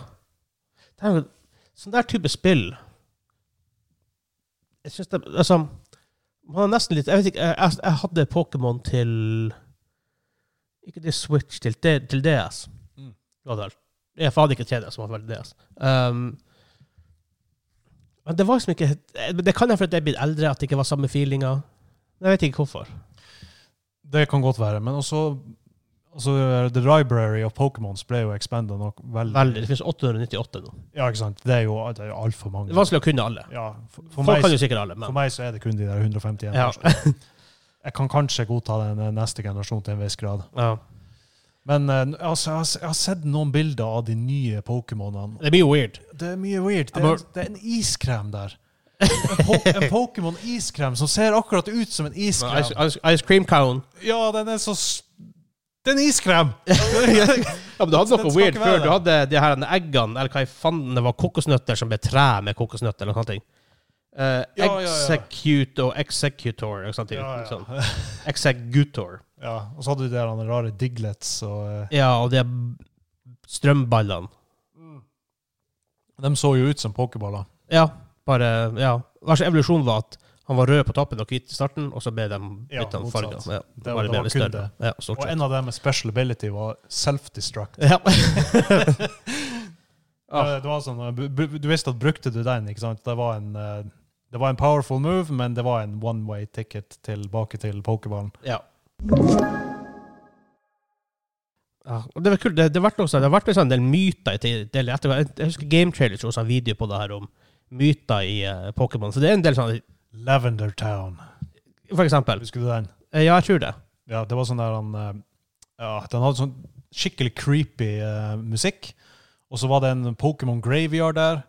Speaker 1: Det er jo sånn der type spill. Jeg synes det, altså, man er nesten litt, jeg vet ikke, jeg, jeg, jeg hadde Pokémon til, ikke til Switch, til, D, til DS.
Speaker 2: Mm.
Speaker 1: Det var det vel. Jeg hadde ikke 3DS, som hadde vært DS. Um, men det var liksom ikke, men det kan jeg for at jeg er blitt eldre, at det ikke var samme feelinga. Men Jeg vet ikke hvorfor.
Speaker 2: Det kan godt være. Men også altså, The Library of Pokémons ble jo expanda nok veldig.
Speaker 1: Veldig, det finnes 898 nå.
Speaker 2: Ja, ikke sant. Det er jo, det er jo altfor mange.
Speaker 1: Det er vanskelig å kunne alle.
Speaker 2: Ja, for, for,
Speaker 1: Folk
Speaker 2: meg,
Speaker 1: kan jo sikkert alle,
Speaker 2: for
Speaker 1: men
Speaker 2: meg så er det kun de der 151
Speaker 1: ja.
Speaker 2: første. Jeg kan kanskje godta den eh, neste generasjon til en viss grad.
Speaker 1: ja.
Speaker 2: Men eh, altså, jeg, har, s- jeg har sett noen bilder av de nye Pokémonene.
Speaker 1: Det blir jo weird.
Speaker 2: Det er mye weird. Det
Speaker 1: Jeg
Speaker 2: er,
Speaker 1: bare-
Speaker 2: det er en iskrem der. En, po (laughs) en Pokémon-iskrem som ser akkurat ut som en
Speaker 1: Men Ice,
Speaker 2: iskrem.
Speaker 1: ice, ice cream cone.
Speaker 2: Ja, den er så s- Det er en (laughs) iskrem!
Speaker 1: Ja, men du hadde
Speaker 2: Den
Speaker 1: noe
Speaker 2: skal
Speaker 1: weird
Speaker 2: ikke være
Speaker 1: før. Du hadde de her eggene, eller hva i fanden det var, kokosnøtter som ble tre med kokosnøtter, eller noe sånt. Uh,
Speaker 2: Ja, ja, ja.
Speaker 1: Execute og executor, eller sånt.
Speaker 2: Ja, ja.
Speaker 1: Sånn. Executor.
Speaker 2: ja, og så hadde du de der andre rare diglets og eh,
Speaker 1: Ja, og de strømballene.
Speaker 2: De så jo ut som pokerballer.
Speaker 1: Ja, bare, ja. Hver sin evolusjon var at han var rød på toppen og hvit i starten, og så ble de
Speaker 2: Ja,
Speaker 1: bytta ja, farger.
Speaker 2: motsatt.
Speaker 1: Ja,
Speaker 2: Det var-
Speaker 1: bare
Speaker 2: det
Speaker 1: ble
Speaker 2: var
Speaker 1: litt
Speaker 2: kun
Speaker 1: større. Ja, stort
Speaker 2: Og
Speaker 1: sett.
Speaker 2: en av dem med special ability var self-destruct.
Speaker 1: Ja. (laughs)
Speaker 2: Ja, Det var sånn, bu- bu- du visste at brukte du den, ikke sant? Det var en, eh, det var en powerful move, men det var en one-way ticket tilbake til pokerballen.
Speaker 1: Ja. ja og det var kult. Det, det, har vært også, det har vært liksom en del myter i tid- del etter. Jeg, jeg husker Game Trailer så også en video på det her om myter i eh, Pokémon. Så det er en del sånn
Speaker 2: Lavender Town.
Speaker 1: For eksempel.
Speaker 2: Husker du den?
Speaker 1: Eh, Ja, jeg tror det.
Speaker 2: Ja, det var sånn der han eh, Ja, den hadde sånn skikkelig creepy eh, musikk. Og så var det en Pokémon Graveyard der.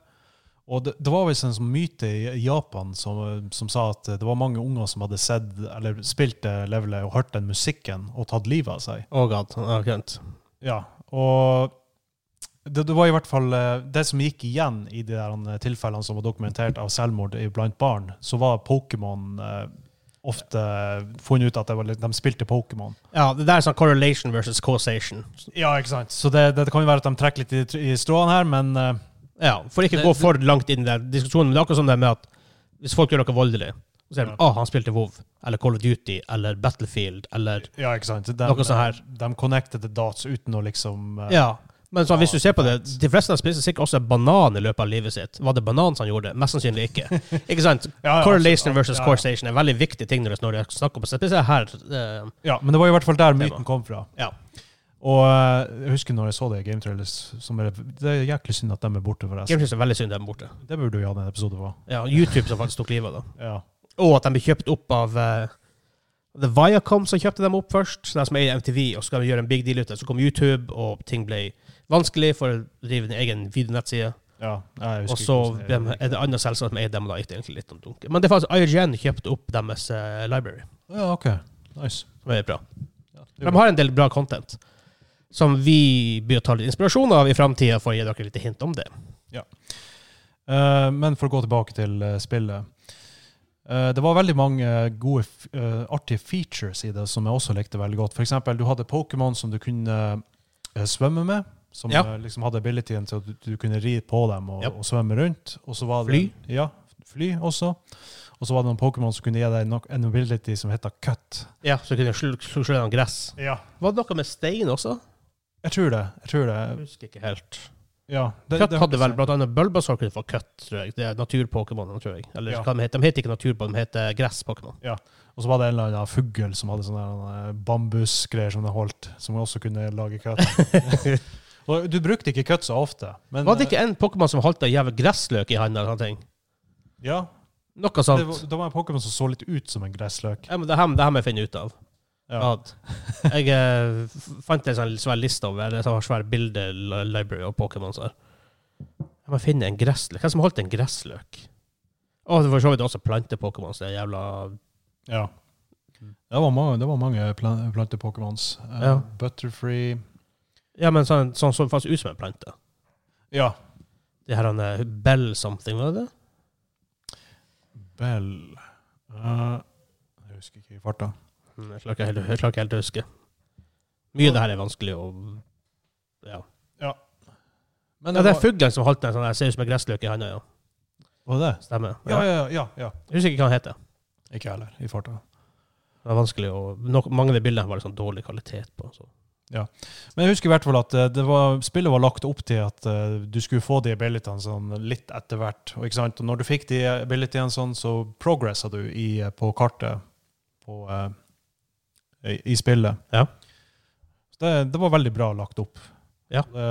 Speaker 2: Og det, det var visst en sånn myte i i Japan som, eh, som sa at det var mange unger som hadde sett, eller spilt det levelet og hørt den musikken og tatt livet av seg.
Speaker 1: Å, god. Ja, grønt.
Speaker 2: Ja, og det, det var i hvert fall eh, det som gikk igjen i de der eh, tilfellene som var dokumentert av selvmord blant barn, så var Pokémon eh, ofte funnet ut at det var, litt- de spilte Pokémon.
Speaker 1: Ja, det der er sånn correlation versus causation.
Speaker 2: Ja, ikke sant? Så det, det kan jo være at de trekker litt i, tr- i stråene her, men eh,
Speaker 1: Ja, For ikke
Speaker 2: Det-
Speaker 1: gå for langt inn i den diskusjonen. Men det er akkurat sånn det med at hvis folk gjør noe voldelig, så sier de
Speaker 2: Ja.
Speaker 1: ah, han spilte WoW, eller Call of Duty, eller Battlefield, eller
Speaker 2: ja, ikke sant? De,
Speaker 1: Noe sånn her.
Speaker 2: De connected the dots uten å liksom eh,
Speaker 1: Ja, men så, hvis du ser på det,
Speaker 2: sant.
Speaker 1: de fleste spiser sikkert også banan i løpet av livet sitt. Var det banan som gjorde det? Mest sannsynlig
Speaker 2: (laughs)
Speaker 1: ikke. Ikke sant?
Speaker 2: ja,
Speaker 1: Correlation
Speaker 2: absolutt.
Speaker 1: versus
Speaker 2: Ja, ja.
Speaker 1: causation er en veldig viktig ting når det- når jeg snakker om det. Spesielt her. eh,
Speaker 2: Ja, men det var i hvert fall der
Speaker 1: Det var-
Speaker 2: myten kom fra.
Speaker 1: Ja.
Speaker 2: Og eh, jeg husker når jeg så det i Game Trailers, som er, det er jæklig synd at de er borte, forresten.
Speaker 1: Gamesys er veldig synd de er borte.
Speaker 2: Det burde jo ha en episode på.
Speaker 1: Ja, YouTube som faktisk tok livet av dem.
Speaker 2: Ja.
Speaker 1: Og at de ble kjøpt opp av eh, The Viacom som kjøpte dem opp først. Så de som eier MTV, og så skal de gjøre en big deal ut av det. Så kom YouTube, og ting ble vanskelig for å drive en egen videonettside.
Speaker 2: Ja, jeg husker
Speaker 1: Og så
Speaker 2: ikke hvordan
Speaker 1: er det andre selskap som eier dem, og da gikk det egentlig litt om dunke. Men det er faktisk IGN kjøpte opp deres eh, library.
Speaker 2: Ja, OK. Nice.
Speaker 1: Som er bra.
Speaker 2: Ja, det er
Speaker 1: De
Speaker 2: bra.
Speaker 1: har en del bra content som vi bør ta litt inspirasjon av i framtida, for å gi dere litt hint om det.
Speaker 2: Eh, men for å gå tilbake til eh, spillet. Eh, det var veldig mange eh, gode, f- eh, artige features i det som jeg også likte veldig godt. For eksempel, du hadde Pokémon som du kunne eh, svømme med. Som
Speaker 1: Ja.
Speaker 2: eh, liksom hadde abilityen til at du, du kunne ri på dem og,
Speaker 1: Ja.
Speaker 2: og svømme rundt. Og så var det,
Speaker 1: Fly.
Speaker 2: Ja, fly også. Og så var det noen Pokémon som kunne gi deg nok, en ability som heter cut.
Speaker 1: Ja, Så kunne jeg slå slå- slå gjennom gress.
Speaker 2: Ja.
Speaker 1: Var det noe med stein også?
Speaker 2: Jeg tror det. jeg tror det.
Speaker 1: Jeg husker ikke helt.
Speaker 2: Ja, det,
Speaker 1: Kutt
Speaker 2: det
Speaker 1: hadde vel blant annet Bulbasaur kunne få kutt, tror jeg. Det er naturpokémonene, tror jeg. Eller
Speaker 2: Ja.
Speaker 1: hva de heter. De heter ikke naturpokémon, de heter gresspokémon.
Speaker 2: Og så var det en eller annen fugl (laughs) som hadde sånne der, eh, bambusgreier som den holdt, som også kunne lage kødd. Og du brukte ikke cut så ofte. Men, eh,
Speaker 1: Var det ikke en Pokémon som holdt en jævla gressløk i handa? eller sånne ting?
Speaker 2: eh, Ja,
Speaker 1: Noe
Speaker 2: det
Speaker 1: sånt.
Speaker 2: var, det var en Pokémon som så litt ut som en gressløk.
Speaker 1: Ja, men det her, det her må jeg finne ut av.
Speaker 2: Ja.
Speaker 1: At Jeg eh, f- fant en sånn svær liste over en sånn svær bilde-library av Pokémon. så her. Jeg må finne en gressløk. Hvem som holdt en gressløk? Å, det var for så vidt også plante-Pokémon, så det er jævla
Speaker 2: ja. Det var mange, det var mange plan- plante-pokémons. Eh,
Speaker 1: Ja.
Speaker 2: Butterfree
Speaker 1: Ja, men sånn, sånn så faktisk ut som en plante.
Speaker 2: Ja.
Speaker 1: Det her han eh, Bell something, var det det?
Speaker 2: Bell Eh, Jeg husker ikke i farta.
Speaker 1: Mm, Jeg klarer ikke helt, jeg klarer ikke helt å huske. Mye av det her er vanskelig å Ja.
Speaker 2: Men
Speaker 1: ja det er
Speaker 2: var,
Speaker 1: fuglen som holdt den sånn der, ser ut som en gressløk i handa, ja.
Speaker 2: var det?
Speaker 1: Stemmer.
Speaker 2: Ja, ja, ja. ja.
Speaker 1: Jeg husker ikke hva han heter.
Speaker 2: Ikke heller, i farta.
Speaker 1: Det var vanskelig å nok, Mange av de bildene var det sånn dårlig kvalitet på. Så.
Speaker 2: Men jeg husker i hvert fall at eh, det var, spillet var lagt opp til at eh, du skulle få de abilityene sånn litt etter hvert. Og, ikke sant? og når du fikk de abilityene sånn, så progressa du i, eh, på kartet på, eh, i, i spillet.
Speaker 1: Ja.
Speaker 2: Så det, det var veldig bra lagt opp.
Speaker 1: Ja.
Speaker 2: Det,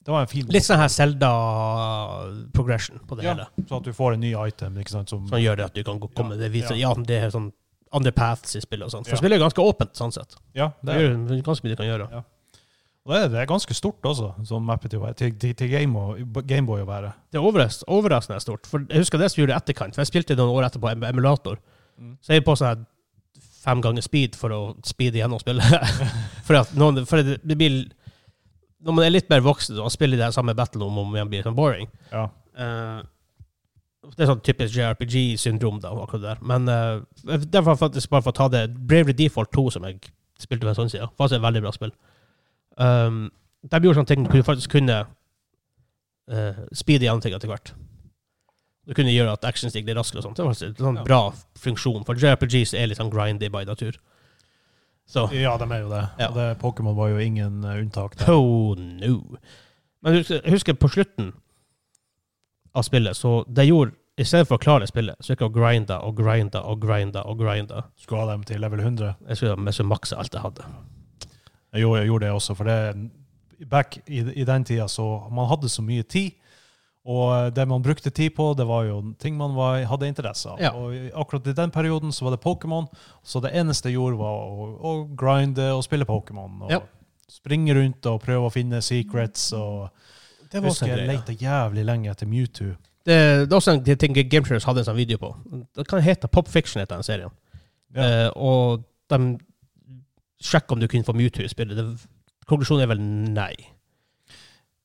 Speaker 2: det var en fin
Speaker 1: Litt sånn her Selda-progression på det
Speaker 2: Ja.
Speaker 1: hele.
Speaker 2: så at du får en ny item. ikke sant? Som,
Speaker 1: Som gjør det at du kan gå- komme det videre. Ja, det er sånn andre paths i spillet og sånn. For
Speaker 2: Ja.
Speaker 1: spillet er ganske åpent, sånn sett.
Speaker 2: ja,
Speaker 1: Det
Speaker 2: det,
Speaker 1: er
Speaker 2: er,
Speaker 1: jo ganske mye du kan gjøre.
Speaker 2: og det, er, det er ganske stort også, som mappet til, til, til, til Gameboy Game å være.
Speaker 1: Det er overras- overraskende stort. For jeg husker det som gjorde etterkant, for jeg spilte det noen år etterpå em- emulator.
Speaker 2: Mm.
Speaker 1: Så jeg er på sånn her fem ganger speed for å speede gjennom spillet. (laughs) for at noen, for det, det blir Når man er litt mer voksen og spiller det her samme battle om og om igjen, blir det sånn boring.
Speaker 2: Ja.
Speaker 1: Eh, det er sånn typisk JRPG-syndrom, da, akkurat der. Men eh, derfor faktisk bare for å ta det Bravery Default 2, som jeg spilte for en stund siden, faktisk et veldig bra spill. Um, der gjorde sånne ting du faktisk kunne uh, speede gjennom ting etter hvert. Du kunne gjøre at actions gikk litt raskere og sånt. Det var faktisk en sånn
Speaker 2: Ja.
Speaker 1: bra funksjon, for JRPGs er litt sånn grindy by natur. Så
Speaker 2: ja, de er jo det.
Speaker 1: Ja.
Speaker 2: Og det Pokémon var jo ingen eh, unntak. der.
Speaker 1: Oh no. Men husk, husker på slutten av spillet, så det gjorde I stedet for å klare spillet, så gikk jeg og grinda og grinda og grinda og grinda.
Speaker 2: Skulle ha dem til level 100.
Speaker 1: Jeg skulle ha med så maksa alt jeg hadde.
Speaker 2: Jeg gjorde, jeg gjorde det også, for det back i, i den tida så man hadde så mye tid. Og det man brukte tid på, det var jo ting man var, hadde interesse av.
Speaker 1: Ja.
Speaker 2: Og i- akkurat i den perioden så var det Pokémon, så det eneste jeg gjorde, var å, å grinde og spille Pokémon. Og
Speaker 1: Ja.
Speaker 2: springe rundt og prøve å finne secrets. Og
Speaker 1: Det
Speaker 2: husker jeg lette jævlig lenge etter Mewtwo.
Speaker 1: Det, det er også en ting Gameshares hadde en sånn video på. Det kan hete Pop Fiction, heter den serien.
Speaker 2: Ja.
Speaker 1: Eh, og de sjekker om du kunne få Mewtwo i spillet. Det, konklusjonen er vel nei.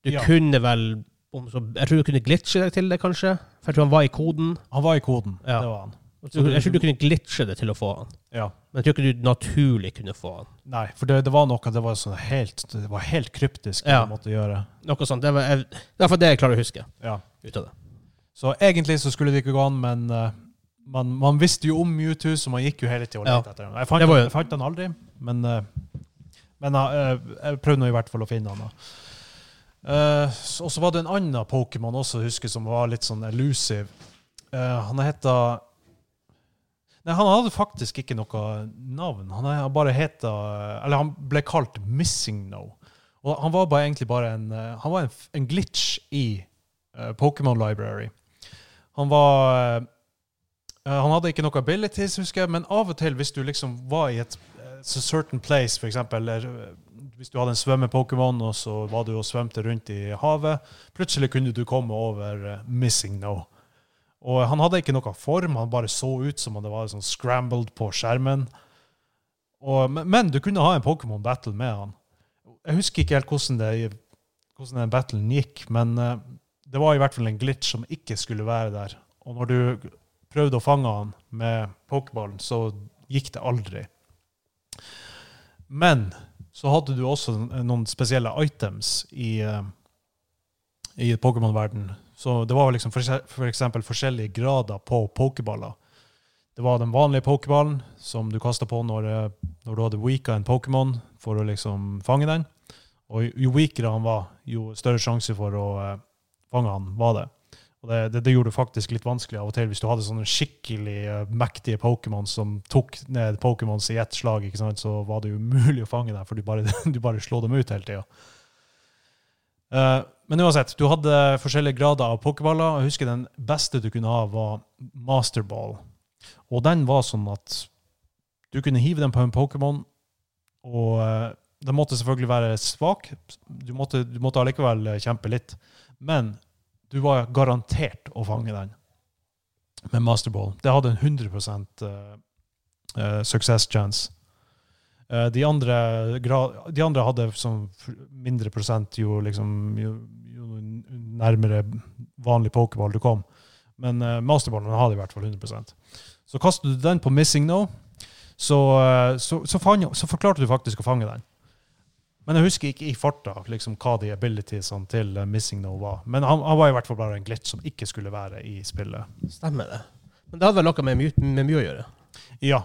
Speaker 1: Du
Speaker 2: Ja.
Speaker 1: kunne vel om så, Jeg tror du kunne glitche deg til det, kanskje. For jeg tror han var i koden.
Speaker 2: Han var i koden.
Speaker 1: Ja.
Speaker 2: Det var han.
Speaker 1: Så Jeg tror du kunne glitche det til å få han.
Speaker 2: Ja.
Speaker 1: Men jeg tror ikke du naturlig kunne få han.
Speaker 2: Nei, for det, det var noe det var, sånn helt, det var helt kryptisk
Speaker 1: Ja.
Speaker 2: man måtte gjøre.
Speaker 1: Noe sånt. Det var- jeg- det er for det jeg klarer å huske.
Speaker 2: Ja.
Speaker 1: ut av det.
Speaker 2: Så egentlig så skulle det ikke gå an, men eh, man, man visste jo om Mewtwo, så man gikk jo hele tida og
Speaker 1: Ja.
Speaker 2: lette etter ham. Jeg fant,
Speaker 1: Det var jo-
Speaker 2: han, jeg fant han aldri, men, eh, men eh, jeg prøvde nå i hvert fall å finne han. da. Eh, s- og så var det en annen Pokémon også, husker jeg, som var litt sånn elusive. Eh, han heta Nei, han hadde faktisk ikke noe navn. Han er- han bare heta Eller han ble kalt Missing No. Og han var bare egentlig bare en eh, Han var en, f- en glitch i eh, Pokémon Library. Han var eh, Han hadde ikke noen abilities, husker jeg, men av og til, hvis du liksom var i et eh, certain place, for eksempel, eller eh, hvis du hadde en svømme-Pokémon, og så var du og svømte rundt i havet, plutselig kunne du komme over eh, Missing No. Og han hadde ikke noen form, han bare så ut som om det var sånn scrambled på skjermen. Og, men, men du kunne ha en Pokémon-battle med han. Jeg husker ikke helt hvordan, det, hvordan den battlen gikk, men eh, det var i hvert fall en glitch som ikke skulle være der. Og når du prøvde å fange han med pokerballen, så gikk det aldri. Men så hadde du også noen spesielle items i, eh, i Pokémon-verden. Så det var liksom for, ekse- for eksempel forskjellige grader på pokerballer. Det var den vanlige pokerballen som du kasta på når, eh, når du hadde weaka en Pokémon for å liksom fange den. Og jo weakere han var, jo større sjanse for å eh, fange han var det. Og det, det, det gjorde det faktisk litt vanskelig av og til hvis du hadde sånne skikkelig eh, mektige Pokémon som tok ned Pokémons i ett (laughs) slag, ikke sant? så var det jo umulig å fange dem, for du bare, du bare slo dem ut hele tida. Eh, men uansett, du hadde forskjellige grader av pokerballer. Jeg husker den beste du kunne ha, var masterball. Og den var sånn at du kunne hive den på en Pokémon, og eh, den måtte selvfølgelig være svak. Du måtte, du måtte allikevel eh, kjempe litt. Men du var garantert å fange den med masterball. Det hadde en 100 eh, eh, success chance. Eh, de, andre gra- de andre hadde sånn f- mindre prosent jo, liksom, jo, jo nærmere vanlig pokerball du kom. Men eh, masterballen hadde i hvert fall 100 Så kastet du den på missing now, så, eh, så, så, fang, så forklarte du faktisk å fange den. Men jeg husker ikke i farta liksom, hva de abilitiesene til eh, missing now var. Men han, han var i hvert fall bare en glitch som ikke skulle være i spillet.
Speaker 1: Stemmer det. Men det hadde vel noe med mye, med mye å gjøre.
Speaker 2: Ja.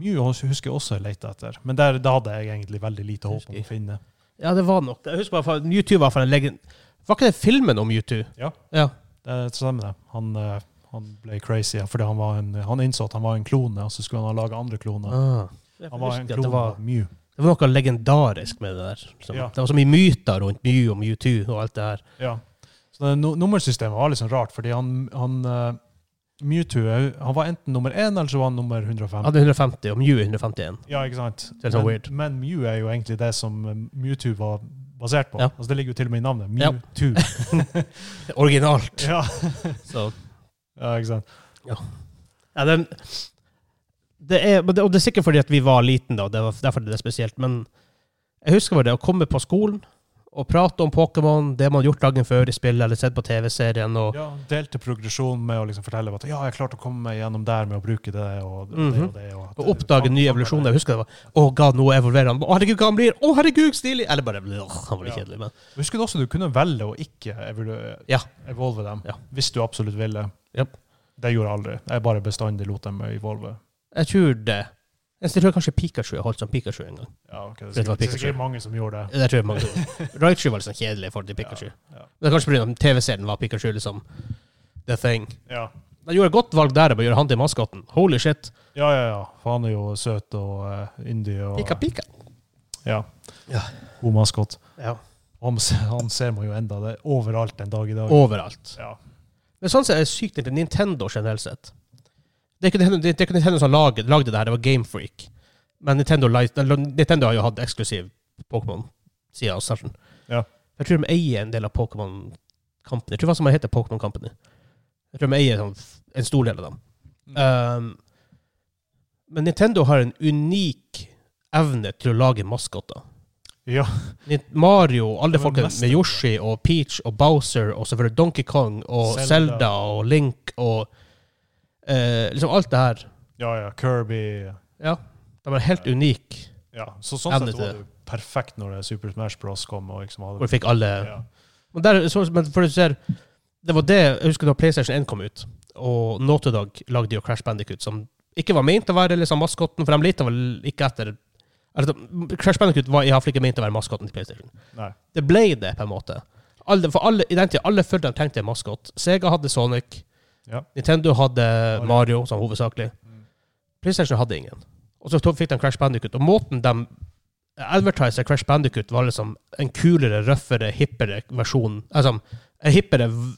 Speaker 2: Mew husker jeg også jeg lette etter, men der, da hadde jeg egentlig veldig lite håp om
Speaker 1: Husker.
Speaker 2: å finne.
Speaker 1: Ja, det var nok. det. Jeg husker bare, fra- Mewtwo var for en legend... Var ikke det filmen om Mewtwo?
Speaker 2: Ja.
Speaker 1: ja.
Speaker 2: Det stemmer det. Han, eh, han ble crazy ja, fordi han, var en, han innså at han var en klone, og så skulle han ha laga andre kloner.
Speaker 1: Ah.
Speaker 2: Han var en
Speaker 1: Jeg husker at
Speaker 2: klone
Speaker 1: det var,
Speaker 2: av Mew.
Speaker 1: det var noe legendarisk med det der. Som,
Speaker 2: Ja.
Speaker 1: Det var så mye myter rundt Mew og Mewtwo og alt det her.
Speaker 2: Ja. Så det, nu- nummersystemet var litt sånn rart, fordi han, han eh, Mewtwo eh, han var enten nummer én eller så var han nummer 105.
Speaker 1: Han hadde 150, og Mew er 151.
Speaker 2: Ja, ikke sant?
Speaker 1: Det er så
Speaker 2: men,
Speaker 1: weird.
Speaker 2: men Mew er jo egentlig det som eh, Mewtwo var basert på.
Speaker 1: Ja.
Speaker 2: Altså, det ligger jo til og med i navnet.
Speaker 1: Ja. (laughs)
Speaker 2: Mewtwo.
Speaker 1: Originalt.
Speaker 2: Ja.
Speaker 1: (laughs) Så.
Speaker 2: ja, ikke sant?
Speaker 1: Ja, den, det er, men det, og det er sikkert fordi at vi var liten da, det var derfor det er spesielt. Men jeg husker bare det å komme på skolen og prate om Pokémon, det man har gjort dagen før i spillet, eller sett på TV-serien. og
Speaker 2: Ja, delte progresjon med å liksom fortelle at ja, jeg klarte å komme meg gjennom der med å bruke det og det
Speaker 1: Mhm.
Speaker 2: og det. Og, at-
Speaker 1: Og oppdage nye evolusjoner. Jeg husker det var Å, god, nå evolverer han. Å, herregud, hva han blir! Å, herregud, stilig! Eller bare «Åh, Han var litt
Speaker 2: Ja.
Speaker 1: kjedelig, men
Speaker 2: Husker du også du kunne velge å ikke evolu-
Speaker 1: Ja.
Speaker 2: evolve dem
Speaker 1: Ja.
Speaker 2: hvis du absolutt ville?
Speaker 1: Japp.
Speaker 2: Det gjorde jeg aldri. Jeg bare bestandig lot dem evolve.
Speaker 1: jeg tror det. Jeg tror kanskje Pikachu har holdt som Pikachu en gang.
Speaker 2: Ja, ok. Det er
Speaker 1: Vet du hva
Speaker 2: sikkert, det er
Speaker 1: Pikachu
Speaker 2: sikkert mange som gjorde det.
Speaker 1: Det tror jeg mange
Speaker 2: (laughs)
Speaker 1: Raichu var liksom kjedelig i forhold til Pikachu.
Speaker 2: Ja.
Speaker 1: Men det er kanskje fordi at TV-serien var Pikachu liksom the thing.
Speaker 2: Ja.
Speaker 1: Jeg gjorde et godt valg der med å gjøre han til maskotten. Holy shit.
Speaker 2: ja, ja, ja. For han er jo søt og uh, indie og
Speaker 1: Pika, pika.
Speaker 2: Ja.
Speaker 1: Ja.
Speaker 2: god maskot.
Speaker 1: Ja.
Speaker 2: Han, se- han ser man jo enda det er overalt en dag i dag.
Speaker 1: Overalt.
Speaker 2: Ja.
Speaker 1: Men sånn sett er det sykt egentlig Nintendo generelt sett. Det er ikke Nintendo, det er ikke Nintendo som lagde, lagde det her, det var Gamefreak. Men Nintendo, li- Nintendo har jo hatt eksklusiv Pokémon siden starten.
Speaker 2: Ja.
Speaker 1: Jeg tror de eier en del av Pokémon Company. Jeg tror hva som heter Pokémon Company. Jeg tror de eier sånn f- en stor del av dem. Um, men Nintendo har en unik evne til å lage maskotter.
Speaker 2: ja.
Speaker 1: Ni- Mario, alle
Speaker 2: Det var
Speaker 1: folk med
Speaker 2: mest-
Speaker 1: Yoshi og Peach og Bowser og selvfølgelig Donkey Kong og
Speaker 2: Zelda.
Speaker 1: Zelda og Link og eh, liksom alt det her.
Speaker 2: ja, ja. Kirby.
Speaker 1: Ja. De er helt unike.
Speaker 2: Ja. Så sånn
Speaker 1: Evne
Speaker 2: sett
Speaker 1: til
Speaker 2: var det jo perfekt når det Super Smash Bros kom. og liksom
Speaker 1: Hvor
Speaker 2: hadde...
Speaker 1: vi fikk alle
Speaker 2: Ja.
Speaker 1: Men, der, så, men for du ser Det var det Jeg husker da PlayStation 1 kom ut, og Naughty Dog lagde jo Crash Bandicoot, som ikke var ment å være liksom maskotten, for de lette vel ikke etter altså, Crash Bandicoot var i hvert fall ikke ment å være maskotten til PlayStation.
Speaker 2: Nei.
Speaker 1: Det ble det, på en måte. Alle, for alle, I den tida alle følte de trengte en maskot. Sega hadde Sonic.
Speaker 2: Ja.
Speaker 1: Nintendo hadde
Speaker 2: Mario.
Speaker 1: Mario, sånn hovedsakelig.
Speaker 2: Mm.
Speaker 1: PlayStation hadde ingen. Og så to- fikk de Crash Bandicoot. Og måten de advertiser Crash Bandicoot, var liksom en kulere, røffere, hippere versjon Altså en hippere v-